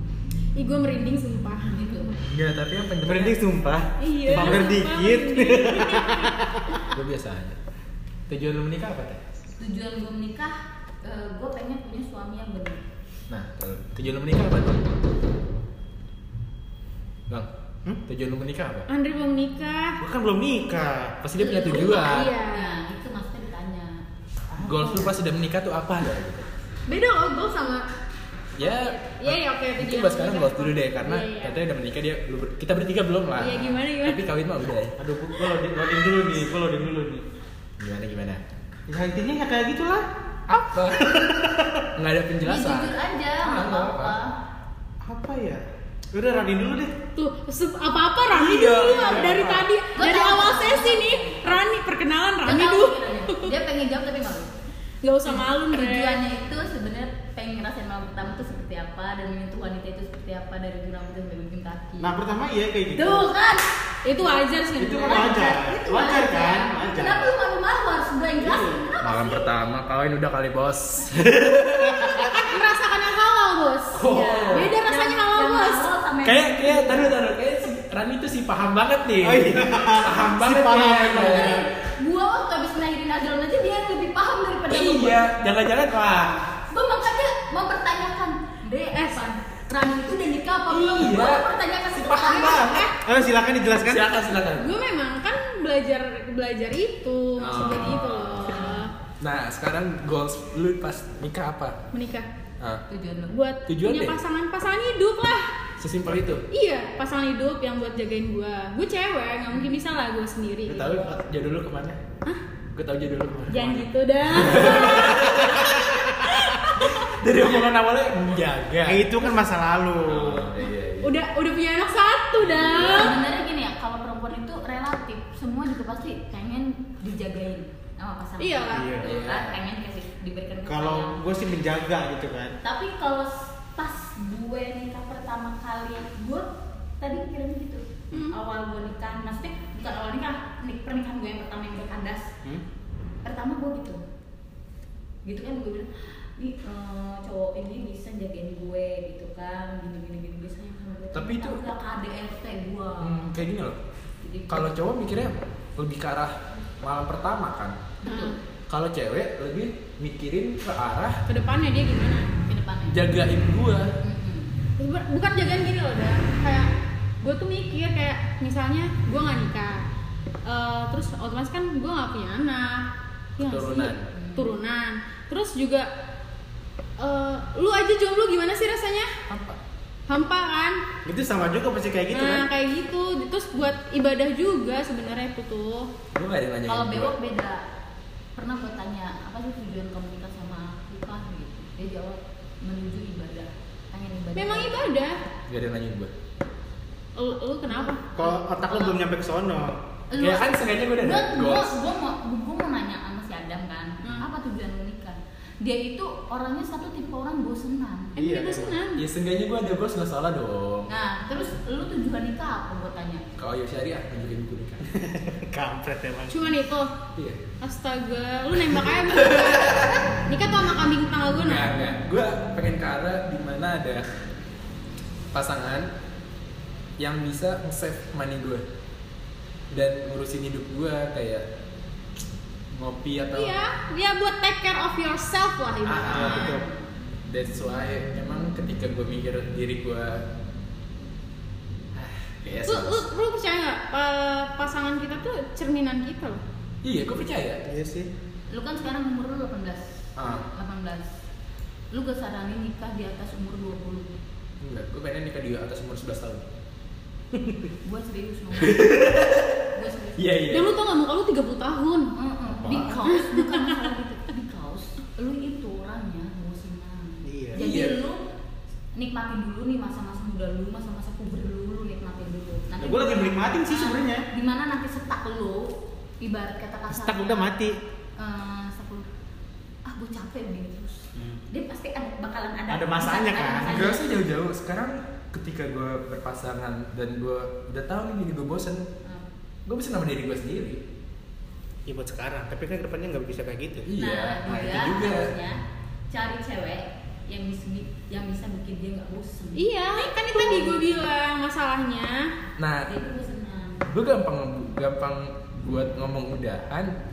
Ih gue merinding sumpah. gitu Enggak, tapi yang penting berhenti sumpah Iya. Bangker sumpah iya. dikit. merinding. Lu biasa aja. Tujuan lu menikah apa teh? tujuan gua menikah eh, gua pengen punya suami yang benar Nah, kalau tujuan lu menikah apa tuh? Bang, Hmm? tujuan lu menikah apa? Andre belum nikah. Gua kan belum nikah Pasti dia punya tujuan. Iya. nah itu maksudnya ditanya Goals lu pas udah menikah tuh apa ya? Gitu. Beda loh gue sama. Ya, Iya, iya, oke, Mungkin tujuan buat sekarang menikah. goals dulu deh karena Iya, iya. katanya udah menikah dia lu ber- kita bertiga belum lah. Iya, gimana, gimana? Tapi kawin mah udah. ya. aduh gua, gua loading, loading dulu nih gua loading dulu nih Gimana gimana? ya intinya ya kayak gitulah Apa? [laughs] Nggak ada Ya, penjelasan. Iya, jujur aja Ah, nggak nggak apa-apa apa-apa. apa ya udah loading dulu deh Tuh, se- apa-apa Rani Iya, dulu ya. iya. dari tadi Gua dari tahu. awal sesi nih Rani perkenalan Dia Rani tahu dulu. pikirannya. dia pengen jawab tapi malu Gak usah malu Andre. tujuannya itu sebenarnya pengen ngerasain malam pertama itu seperti apa dan menyentuh wanita itu seperti apa dari ujung rambut sampai ujung kaki nah pertama iya kayak gitu tuh kan Itu wajar sih. Itu Andre. kan wajar. Wajar kan? Wajar. kenapa lu malu-malu harus gue yang jelasin Iya. kenapa Malam sih pertama kawin udah kali bos. Kan, Merasakan yang halal, Bos. Oh. Iya. Beda rasanya halal, Yang Bos. awal sama yang- Oh. kayak kayak taruh taruh kayak si Rani tuh sih paham banget nih. Oh iya. Paham Si banget. paham nih. emang. Dengerin, gua waktu habis lahirin Azron aja dia yang lebih paham daripada gua. Iya, jangan-jangan wah. gua makanya mempertanyakan DS Rani itu udah nikah apa belum Iya. gua mempertanyakan Si itu paham banget. Eh, silakan dijelaskan Silakan silakan. Gue memang kan belajar belajar itu, maksudnya Ah. Oh. gitu loh. Nah, sekarang goals lu pas nikah apa? Menikah Ah, tujuan lu buat Tujuan punya deh. pasangan pasangan hidup lah. sesimpel itu. Iya, pasangan hidup yang buat jagain gue. Gue cewek, nggak mungkin bisa lah gue sendiri. Gue tahu jodoh lu kemana? Hah? Gue tahu jodoh lu kemana? Jangan gitu dah. [laughs] Dari omongan awalnya menjaga. Eh, itu kan masa lalu iya, iya. udah udah punya anak satu dah. sebenarnya gini ya kalau perempuan itu relatif semua juga pasti pengen dijagain sama pasangan Iya. Iya. Betul kan? pengen dikasih diberikan kalau kepercayaan. gue sih menjaga gitu kan tapi kalau pas gue nikah pertama kali gue tadi pikirannya gitu Hmm. awal gue nikah maksudnya bukan awal nikah nik pernikahan gue yang pertama yang berkandas Hmm? pertama gue gitu gitu kan gue bilang ini eh, cowok ini bisa jagain gue gitu kan gini gini gini kan bisa yang sama gue Tapi itu- udah KDRT gue Hmm, kayak gini loh. Jadi- Kalau cowok mikirnya lebih ke arah malam pertama kan. Hmm. betul Kalau cewek lebih mikirin ke arah Kedepannya dia gimana? ke depannya Hmm. jagain gua. Mm-mm. Bukan- bukan jagaan gini loh dah kayak gue tuh mikir kayak misalnya gue nggak nikah Eh, terus otomatis kan gue nggak punya anak Iya nggak sih? Turunan. turunan terus juga eh, lu aja jomblo gimana sih rasanya Apa? hampa kan itu sama juga pasti kayak gitu nah kan kayak gitu terus buat ibadah juga sebenarnya itu tuh Gua gak ada yang nanyain Kalau gua. bewok beda. Pernah gue tanya, apa sih tujuan kamu nikah sama aku kan gitu. Dia jawab menuju ibadah. Pengen ibadah. memang ibadah Gak ada yang nanyain gua. lu, lu kenapa kalau otak lu belum nyampe ke sono [laughs] Lu- Ya kan sengaja gua udah gua, ada gua, goals. gua mau gua mau nanya sama si Adam kan, Hmm. apa tujuan lu nikah? Dia itu orangnya satu tipe orang bosenan. emang dia Iya, bosenan Ya sengaja gua ada goals gak salah dong. Nah, terus lu tujuan nikah apa gua tanya? Kalau Yosi Ari ah nunjukin gua nikah. kampret emang cuman itu Iya. astaga lu nembak aja bener. nikah tuh sama kambing tetangga gue nah Enggak, enggak. Gue pengen ke arah dimana ada pasangan yang bisa nge-save money gue dan ngurusin hidup gue kayak ngopi atau Iya, dia buat take care of yourself lah Ah, ibaratnya. ah, betul. That's why emang ketika gue mikir diri gue ah, kayak Lu, lu, sus- lu percaya nggak eh, pasangan kita tuh cerminan kita loh? Iya, gue percaya. iya sih Lu kan sekarang umur lu 18. Ah, 18. Lu gak saranin nikah di atas umur 20. enggak, gue pengen nikah di atas umur 11 tahun. gue serius [laughs] ngomong gue serius Iya iya. Dan lu tau gak muka lu 30 tahun Mm-mm, because bukan masalah gitu because lu itu orangnya musiman Iya. jadi Iya. lu nikmatin dulu nih masa-masa muda lu masa-masa puber lu lu nikmatin dulu nanti Ya, gua lagi menikmatin sih Ah, sebenarnya. dimana nanti setak lu ibarat kata kasar Stuck udah mati. Eh, setak lu ah gue capek begini terus Hmm. dia pasti ada bakalan ada Ada masanya, kan? masanya. Gak usah jauh-jauh. Sekarang ketika gue berpasangan dan gue udah tahu nih diri gue bosen, Hmm. gue bosen sama diri gue sendiri. Ya buat sekarang, tapi kan kedepannya nggak bisa kayak gitu. Iya, nah, nah, itu juga, juga. harusnya cari cewek yang bisa yang bisa bikin dia nggak bosen. Iya kan itu tadi gue bilang masalahnya Nah, Jadi gue senang. gue gampang gampang buat ngomong udahan.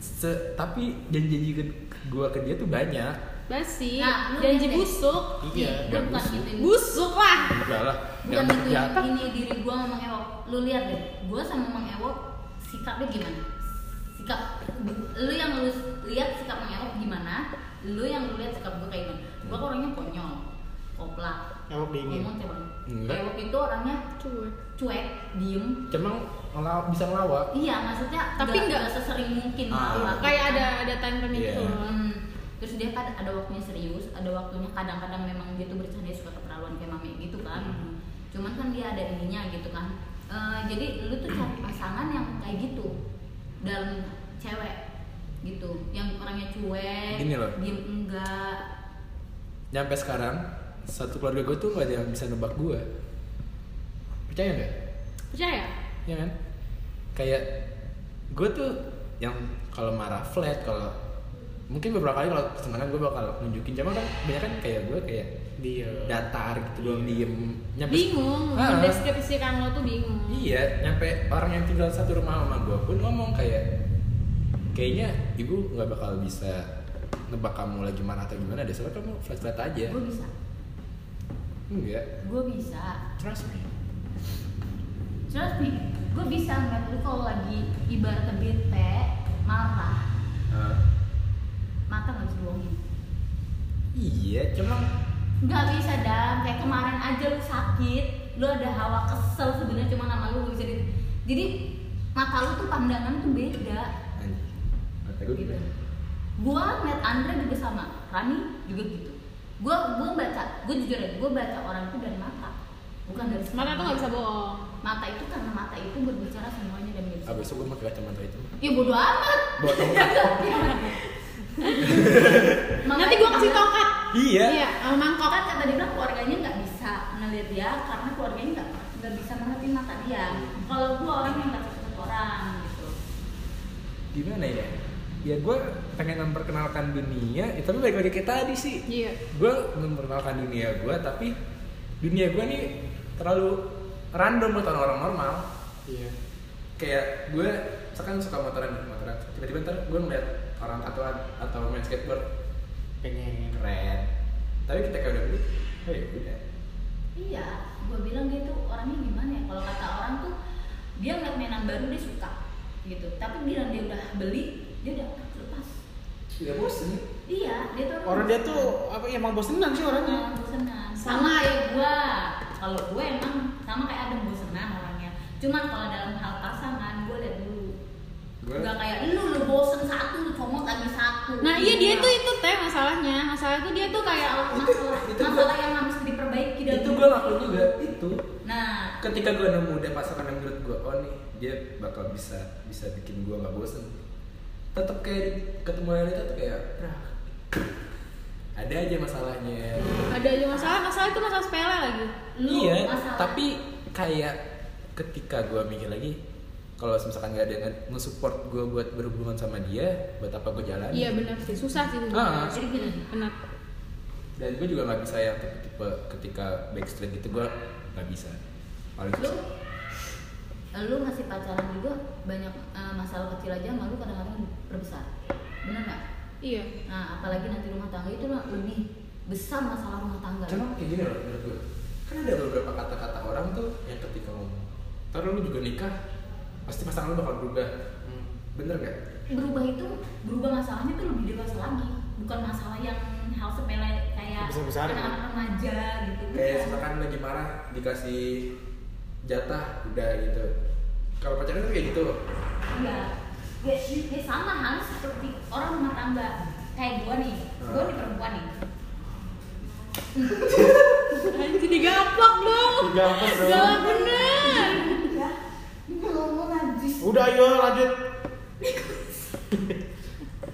Se- tapi janji-janji ke gue ke dia tuh banyak. Basi Nah, lu janji lihat deh. busuk Iya. Gue nggak bukan bosen. gituin. Busuk lah Enggak lah. Bukan nggak- gituin. ya, Ini diri gue sama Mang Ewo. Lu lihat deh, gue sama Mang Ewo sikapnya gimana? Sikap lu yang lu lihat sikap Mang Ewo gimana? Lu yang lu lihat sikap gue kayak gimana? Gue orangnya konyol, koplak, Ewok dingin. ngomong cewek. Iya. Enggak. Ewok itu orangnya cuek cuek, diem, Cuman ngelaw- bisa ngelawak. Iya, maksudnya Tapi nggak- nggak- nggak sesering mungkin. Ah. Iya. Kayak ada ada time gitu frame Iya. itu Hmm. Terus dia kan ada waktunya serius, ada waktunya kadang-kadang memang dia tuh bercanda suka keterlaluan kayak mami gitu kan. Hmm. Cuman kan dia ada ininya gitu kan. Eh, jadi lu tuh cari pasangan yang kayak gitu dalam cewek gitu, yang orangnya cuek, Gini loh. diem enggak. Nyampe sekarang satu keluarga gue tuh gak ada yang bisa nebak gue. Percaya nggak? Percaya? ya kan kayak gue tuh yang kalau marah flat kalau mungkin beberapa kali kalau pertemanan gue bakal nunjukin cuma kan banyak kan kayak gue kayak Dia. datar gitu doang diem nyampe Bingung Ah, Mendeskripsikan lo tuh bingung iya nyampe orang yang tinggal satu rumah sama gue pun ngomong kayak kayaknya ibu nggak bakal bisa nebak kamu lagi marah atau gimana deh soalnya kamu flat flat aja Gue bisa, enggak gue bisa. trust me Terus nih, gue bisa ngeliat lu kalau lagi ibarat bete, marah, Ah, mata nggak bisa dibohongin. iya cuma nggak bisa dam kayak kemarin aja lu sakit lu ada hawa kesel sebenarnya cuma nama lu nggak bisa di jadi mata lu tuh pandangan tuh beda anjing kata gue gitu gimana gua ngeliat Andre juga sama Rani juga gitu gua gua baca gua jujur aja gua baca orang itu dari mata bukan dari Mata tuh gak bisa bohong mata itu karena mata itu berbicara semuanya dan ah bisa besok gue pakai kacamata itu ya bodo amat Bawa [laughs] tongkat. Ya, ya. Makanya- Nanti gue kasih tongkat iya Iya sama mangkok kan kata dia bilang keluarganya nggak bisa ngelihat dia karena keluarganya nggak nggak bisa merhatiin mata dia kalau gua orang yang nggak cocok orang gitu gimana ya ya gue pengen memperkenalkan dunia ya, tapi balik lagi kayak tadi sih Iya gue memperkenalkan dunia gue tapi dunia gue nih terlalu random buat orang normal Iya. kayak gue sekarang suka motoran nih, motoran tiba-tiba ntar gue ngeliat orang tatoan atau main skateboard Pengen. keren tapi kita kayak udah beli oh ya udah iya gua bilang dia tuh orangnya gimana ya kalau kata orang tuh dia ngeliat mainan baru dia suka gitu tapi bila dia udah beli dia udah "Ah, lepas udah bosen iya dia tuh Orang dia tuh apa ya emang bosenan sih orangnya. Orang bosenan. Sama. sama kayak gua kalau gue emang sama kayak ada bosenan orangnya cuman kalau dalam hal pasangan gue lihat dulu gue Gak kayak lu lu bosen satu lu comot lagi satu. Gitu. Nah iya dia tuh itu teh masalahnya Masalah tuh dia tuh kayak masalah masalah, itu gua- masalah yang harus diperbaiki dalam itu hidup. gue lakuin juga itu Nah, ketika gue nemu udah pasangan yang menurut gue oh nih dia bakal bisa bisa bikin gue nggak bosen tetap kayak ketemu realita tuh kayak "Rah, ada aja masalahnya Ada aja masalah, masalah itu masalah sepele lagi lu iya masalah. tapi kayak ketika gue mikir lagi kalau misalkan gak ada yang nge-support gue buat berhubungan sama dia buat apa gue jalan Iya benar sih, susah sih Ah. jadi gini, Benar dan gue juga nggak bisa yang tipe-tipe ketika backstreet gitu gue nggak bisa paling lu susah lu masih pacaran juga banyak eh, masalah kecil aja malu kadang-kadang perbesar. Bener nggak? Iya Nah, apalagi nanti rumah tangga itu lah lebih besar masalah rumah tangga. Cuman kayak gini loh menurut gue Kan ada beberapa kata-kata orang tuh yang ketika ngomong Ntar lu juga nikah Pasti pasangan lu bakal berubah Bener gak? Berubah itu berubah masalahnya tuh lebih dewasa lagi, bukan masalah yang hal sepele kayak Besar-besaran. anak-anak remaja gitu. Kayak Bukan. misalkan lagi marah dikasih jatah udah gitu kalau pacaran tuh kayak gitu Iya. Ya, ya sama halnya seperti orang rumah tangga. Kayak gua nih, gua nih perempuan nih. Jadi gaplak dong. Digaplak dong. Galak bener. Ya, ini ngomong habis. Udah ayo lanjut.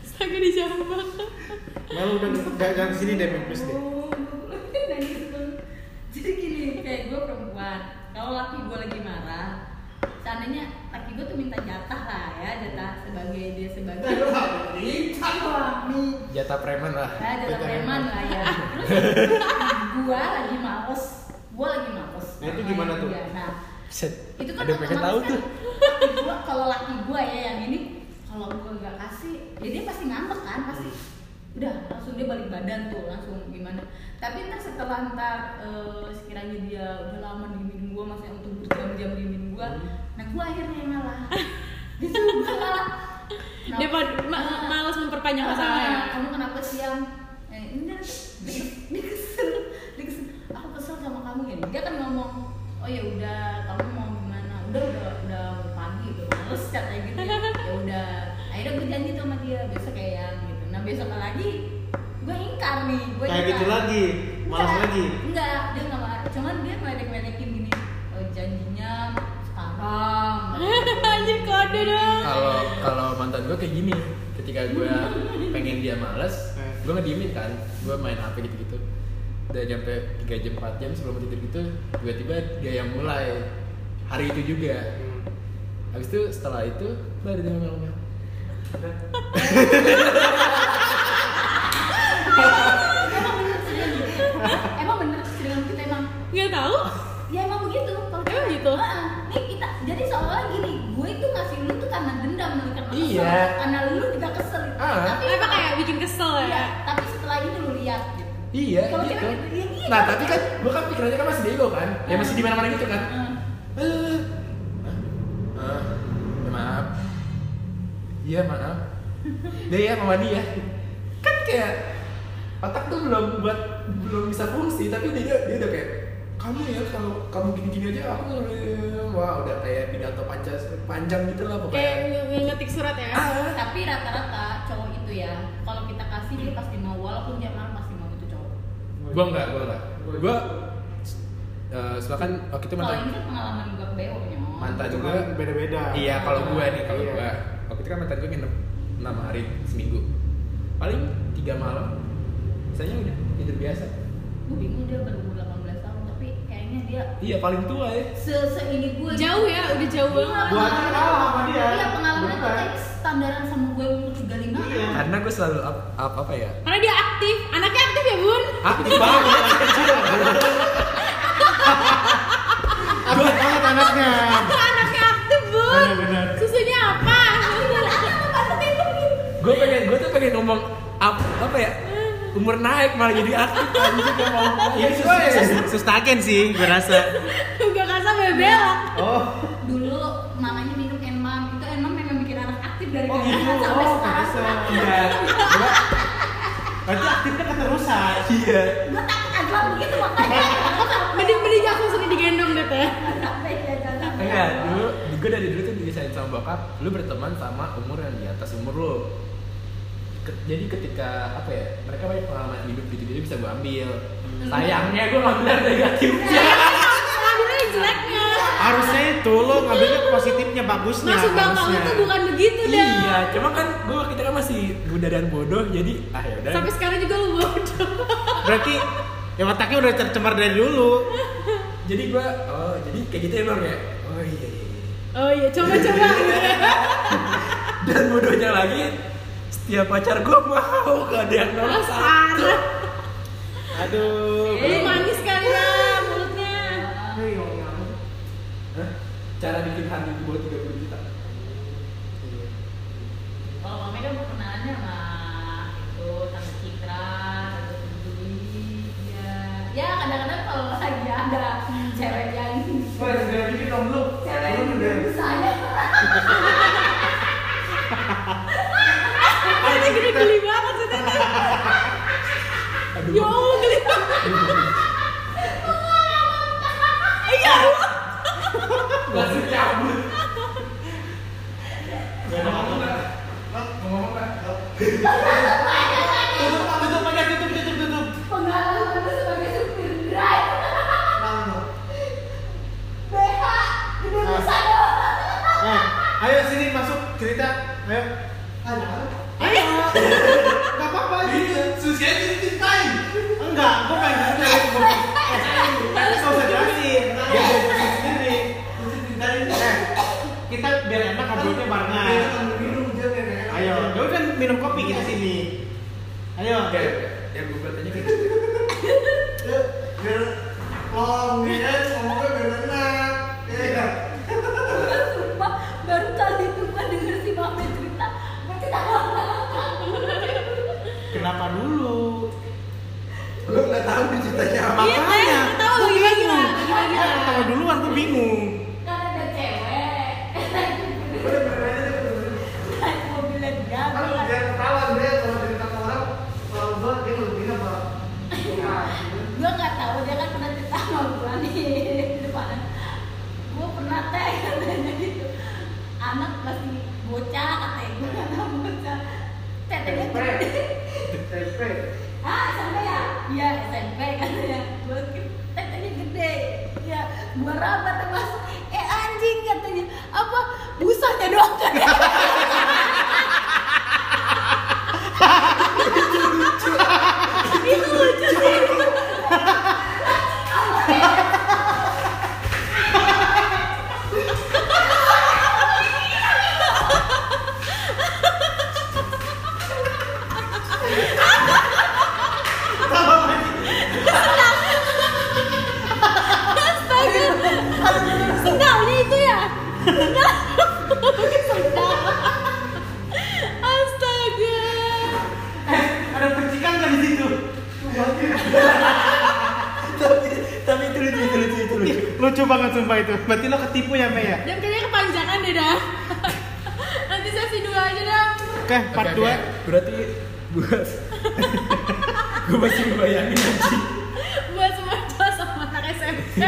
Astaga dijambak. Mel udah udah jangan sini deh Memphis deh. Dan itu. [laughs] Jadi gini, kayak gue perempuan. Kalau laki gue lagi marah, seandainya laki gue tuh minta jatah lah ya, jatah sebagai dia sebagai minta Jatah preman lah. ya jatah preman lah [laughs] ya. Terus gue lagi males, gue lagi males. Nah, itu gimana tuh? Nah, Set. itu kan Ada yang pengen tahu otomatis tuh. kan laki gua- kalau laki gua ya yang ini kalau gua nggak kasih ya dia pasti ngambek kan pasti udah langsung dia balik badan tuh langsung gimana tapi ntar setelah ntar eh, sekiranya dia udah lama dimin gua maksudnya untuk berjam-jam dimin Hmm. gua nah gua akhirnya yang ngalah dia tuh gua ngalah Kenapa- Dia pad- ma- Nah, malas memperpanjang masalah ya. Ah, kamu kenapa siang eh, ini kan dia dia kesel dia kesel aku kesel sama kamu gini dia kan ngomong oh ya udah kamu mau gimana udah udah udah pagi udah males katanya gitu ya Ya udah akhirnya gue janji tuh sama dia besok kayak yang gitu nah besok lagi gue ingkar nih gue Kayak gitu lagi, malas lagi. enggak dia nggak marah cuman dia meledek-meledekin gini oh, janjinya sekarang [laughs] Anjir kode dong. Kalau kalau mantan gue kayak gini, ketika gue pengen dia males, gue ngediemin kan, gue main HP gitu-gitu. Udah nyampe 3 jam 4 jam sebelum tidur gitu, tiba-tiba dia yang mulai hari itu juga. Habis itu setelah itu baru dia ngomel-ngomel. emang bener sering gitu emang bener sering kita emang Nggak tahu. ya emang begitu kalau kita Emang gitu? Heeh. nih kita jadi seolah gini gue itu ngasih lu tuh karena dendam lu karena kesel. Iya. karena lu juga kesel Ah. tapi Apa kayak bikin kesel iya, ya? tapi setelah ini lu lihat gitu Iya Kalau kita gitu. gitu, iya, iya. Nah tapi kan gue kan pikirannya kan masih bego kan, ya masih di mana-mana gitu kan. Heeh. Eh, eh, ya maaf. Iya maaf. Deh ya mau mandi ya. Kan kayak otak tuh belum buat belum bisa fungsi tapi dia dia udah kayak kamu ya kalau kamu gini-gini aja aku wah udah kayak pidato panjang panjang gitu lah Kayak pokoknya. nge- nge- ngetik surat ya. tapi rata-rata cowok itu ya kalau kita kasih dia pasti mau walaupun dia marah pasti mau itu cowok Gua enggak, gua enggak. Gua eh silakan waktu itu kalau mantan ini kan pengalaman gue beo mantan Itu gue kan beda-beda. Iya, kalau gua nih, kalau Iya. gua. Waktu itu kan mantan gua nginep 6 hari seminggu. Paling 3 malam. Saya udah tidur biasa. gue bingung dia baru umur 18 tahun tapi kayaknya dia Iya, paling tua ya. se seini gue Jauh ya, udah jauh banget. Gua aja kalah sama dia. Iya, pengalaman itu Beneran. kayak standaran sama gue umur 35 Iya. Karena gua selalu up, up apa ya? Karena dia aktif, anaknya aktif ya bun. Aktif banget. Abis banget anaknya. [laughs] anaknya aktif bun. Benar-benar. Susunya apa? Iya. gua pengen gua tuh pengen ngomong up apa ya? Umur naik malah jadi aktif anjing gua mau. Iya, sustagen sih, gue rasa. Gak kasar bebel. Oh, Dulu mamanya minum Enmam, itu Enmam memang bikin anak aktif dari oh gitu. kanak-kanak sampai Oh, sekarang. pantesan. Iya. Gua Berarti aktifnya keterusan. iya. Gue takut aja begitu [laughs] makanya. Mending-mending aku sering digendong deh teh. Sampai dia jalan. Iya, Enggak, Iya, dulu gue dari dulu tuh didesain sama bokap, lu berteman sama umur yang di atas umur lu. Ke- jadi ketika apa ya, mereka banyak pengalaman hidup gitu, jadi bisa gue ambil. Sayangnya gue ngambil yang negatifnya. Iya. Ngambilnya Nah, jeleknya. Harusnya itu lo ngambilnya positifnya bagusnya. Maksud bapak lu harusnya. tuh bukan begitu dah. iya, cuma kan gue kita kan masih muda dan bodoh, jadi ah ya udah. Sampai sekarang juga lu bodoh. Berarti ya otaknya udah tercemar dari dulu. Jadi gue, oh jadi kayak gitu emang ya. Oh iya. iya. Oh iya, coba-coba. Dan bodohnya lagi, setiap pacar gue mau gak ada yang Lu nolak satu. parah. Aduh. Eh, Lu manis kan, kali ya, lah mulutnya. Iya. Hah? Cara bikin hati gue 30 juta. Kalau mami kan gue kenalannya sama itu sama Citra, sama Dwi, ya. Ya kadang-kadang kalau lagi ada cewek yang Wah, udah bikin dong lu. cewek yang saya Ini geli-geli banget sih Teh. Aduh. Ya Allah, geli banget. Iya. Allah. Tutup, Pak, tutup, Pak, tutup, tutup, tutup. Pengalaman lu sebagai supir drive Nanggung. BH Ah. di Indonesia dong. Nah, ayo sini masuk cerita. Ayo. Ayo. Enggak apa-apa gitu. Susi aja ceritain. Enggak, gua pengen nanya lu [laughs] gua. Eh, tapi enggak usah jelasin. Ya gua jelasin sendiri. Eh, kita biar enak ngobrolnya barengan. Ayo, ya udah minum kopi kita sini. Ayo. Oke, yang gue bertanya kan Sumpah, baru kali itu gua denger si Mame cerita, gua ketawa. Kenapa dulu? lo nggak tahu nih ceritanya apa. Iya, saya tahu gua gila gila. bingung. Gila gila. Gua Ketawa duluan gua bingung. Karena ada cewek. Naik mobilnya dia, gua kan- gua nggak tahu dia kan pernah cerita sama gua nih di depan gua pernah teh [laughs] katanya gitu anak masih bocah katanya gua anak bocah tetenya ah sampai ya iya SMP katanya gua tetenya gede ya gua rabat tuh, mas eh anjing katanya apa busanya doang [laughs] katanya itu lucu sih Astaga. Sendalnya itu ya? Sendal. Mungkin sendal. Astaga. Ada percikan nggak di situ? Tapi tapi itu lucu itu lucu itu lucu. Lucu banget sumpah itu. Berarti lo ketipu ya, Maya? Dan kayaknya kepanjangan deh dah. Nanti sesi dua aja dah. Oke, part Oke, oke. 2. Berarti buat [laughs] gue masih bayangin anjing. Buat semua cowok sama anak SMP.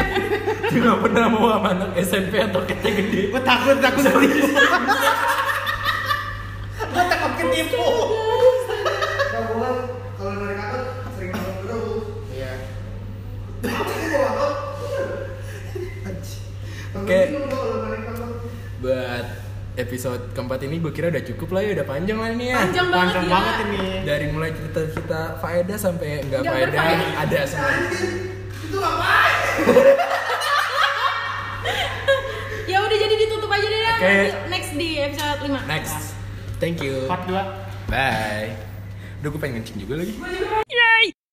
Dia nggak pernah mau sama anak SMP atau kece gede. Gue takut, takut ketipu. Gue takut ketipu. Iya. Oke. Buat episode keempat ini gue kira udah cukup lah ya udah panjang lah ini ya. Panjang banget Panjang gila. banget ini. Dari mulai cerita kita faedah sampai nggak Nggak faedah berfaedah. ada semua. Ya udah jadi ditutup aja deh dah. Oke. Nanti Next di episode 5. Next. Thank you. Part 2. Bye. Udah gue pengen kencing juga lagi. Ini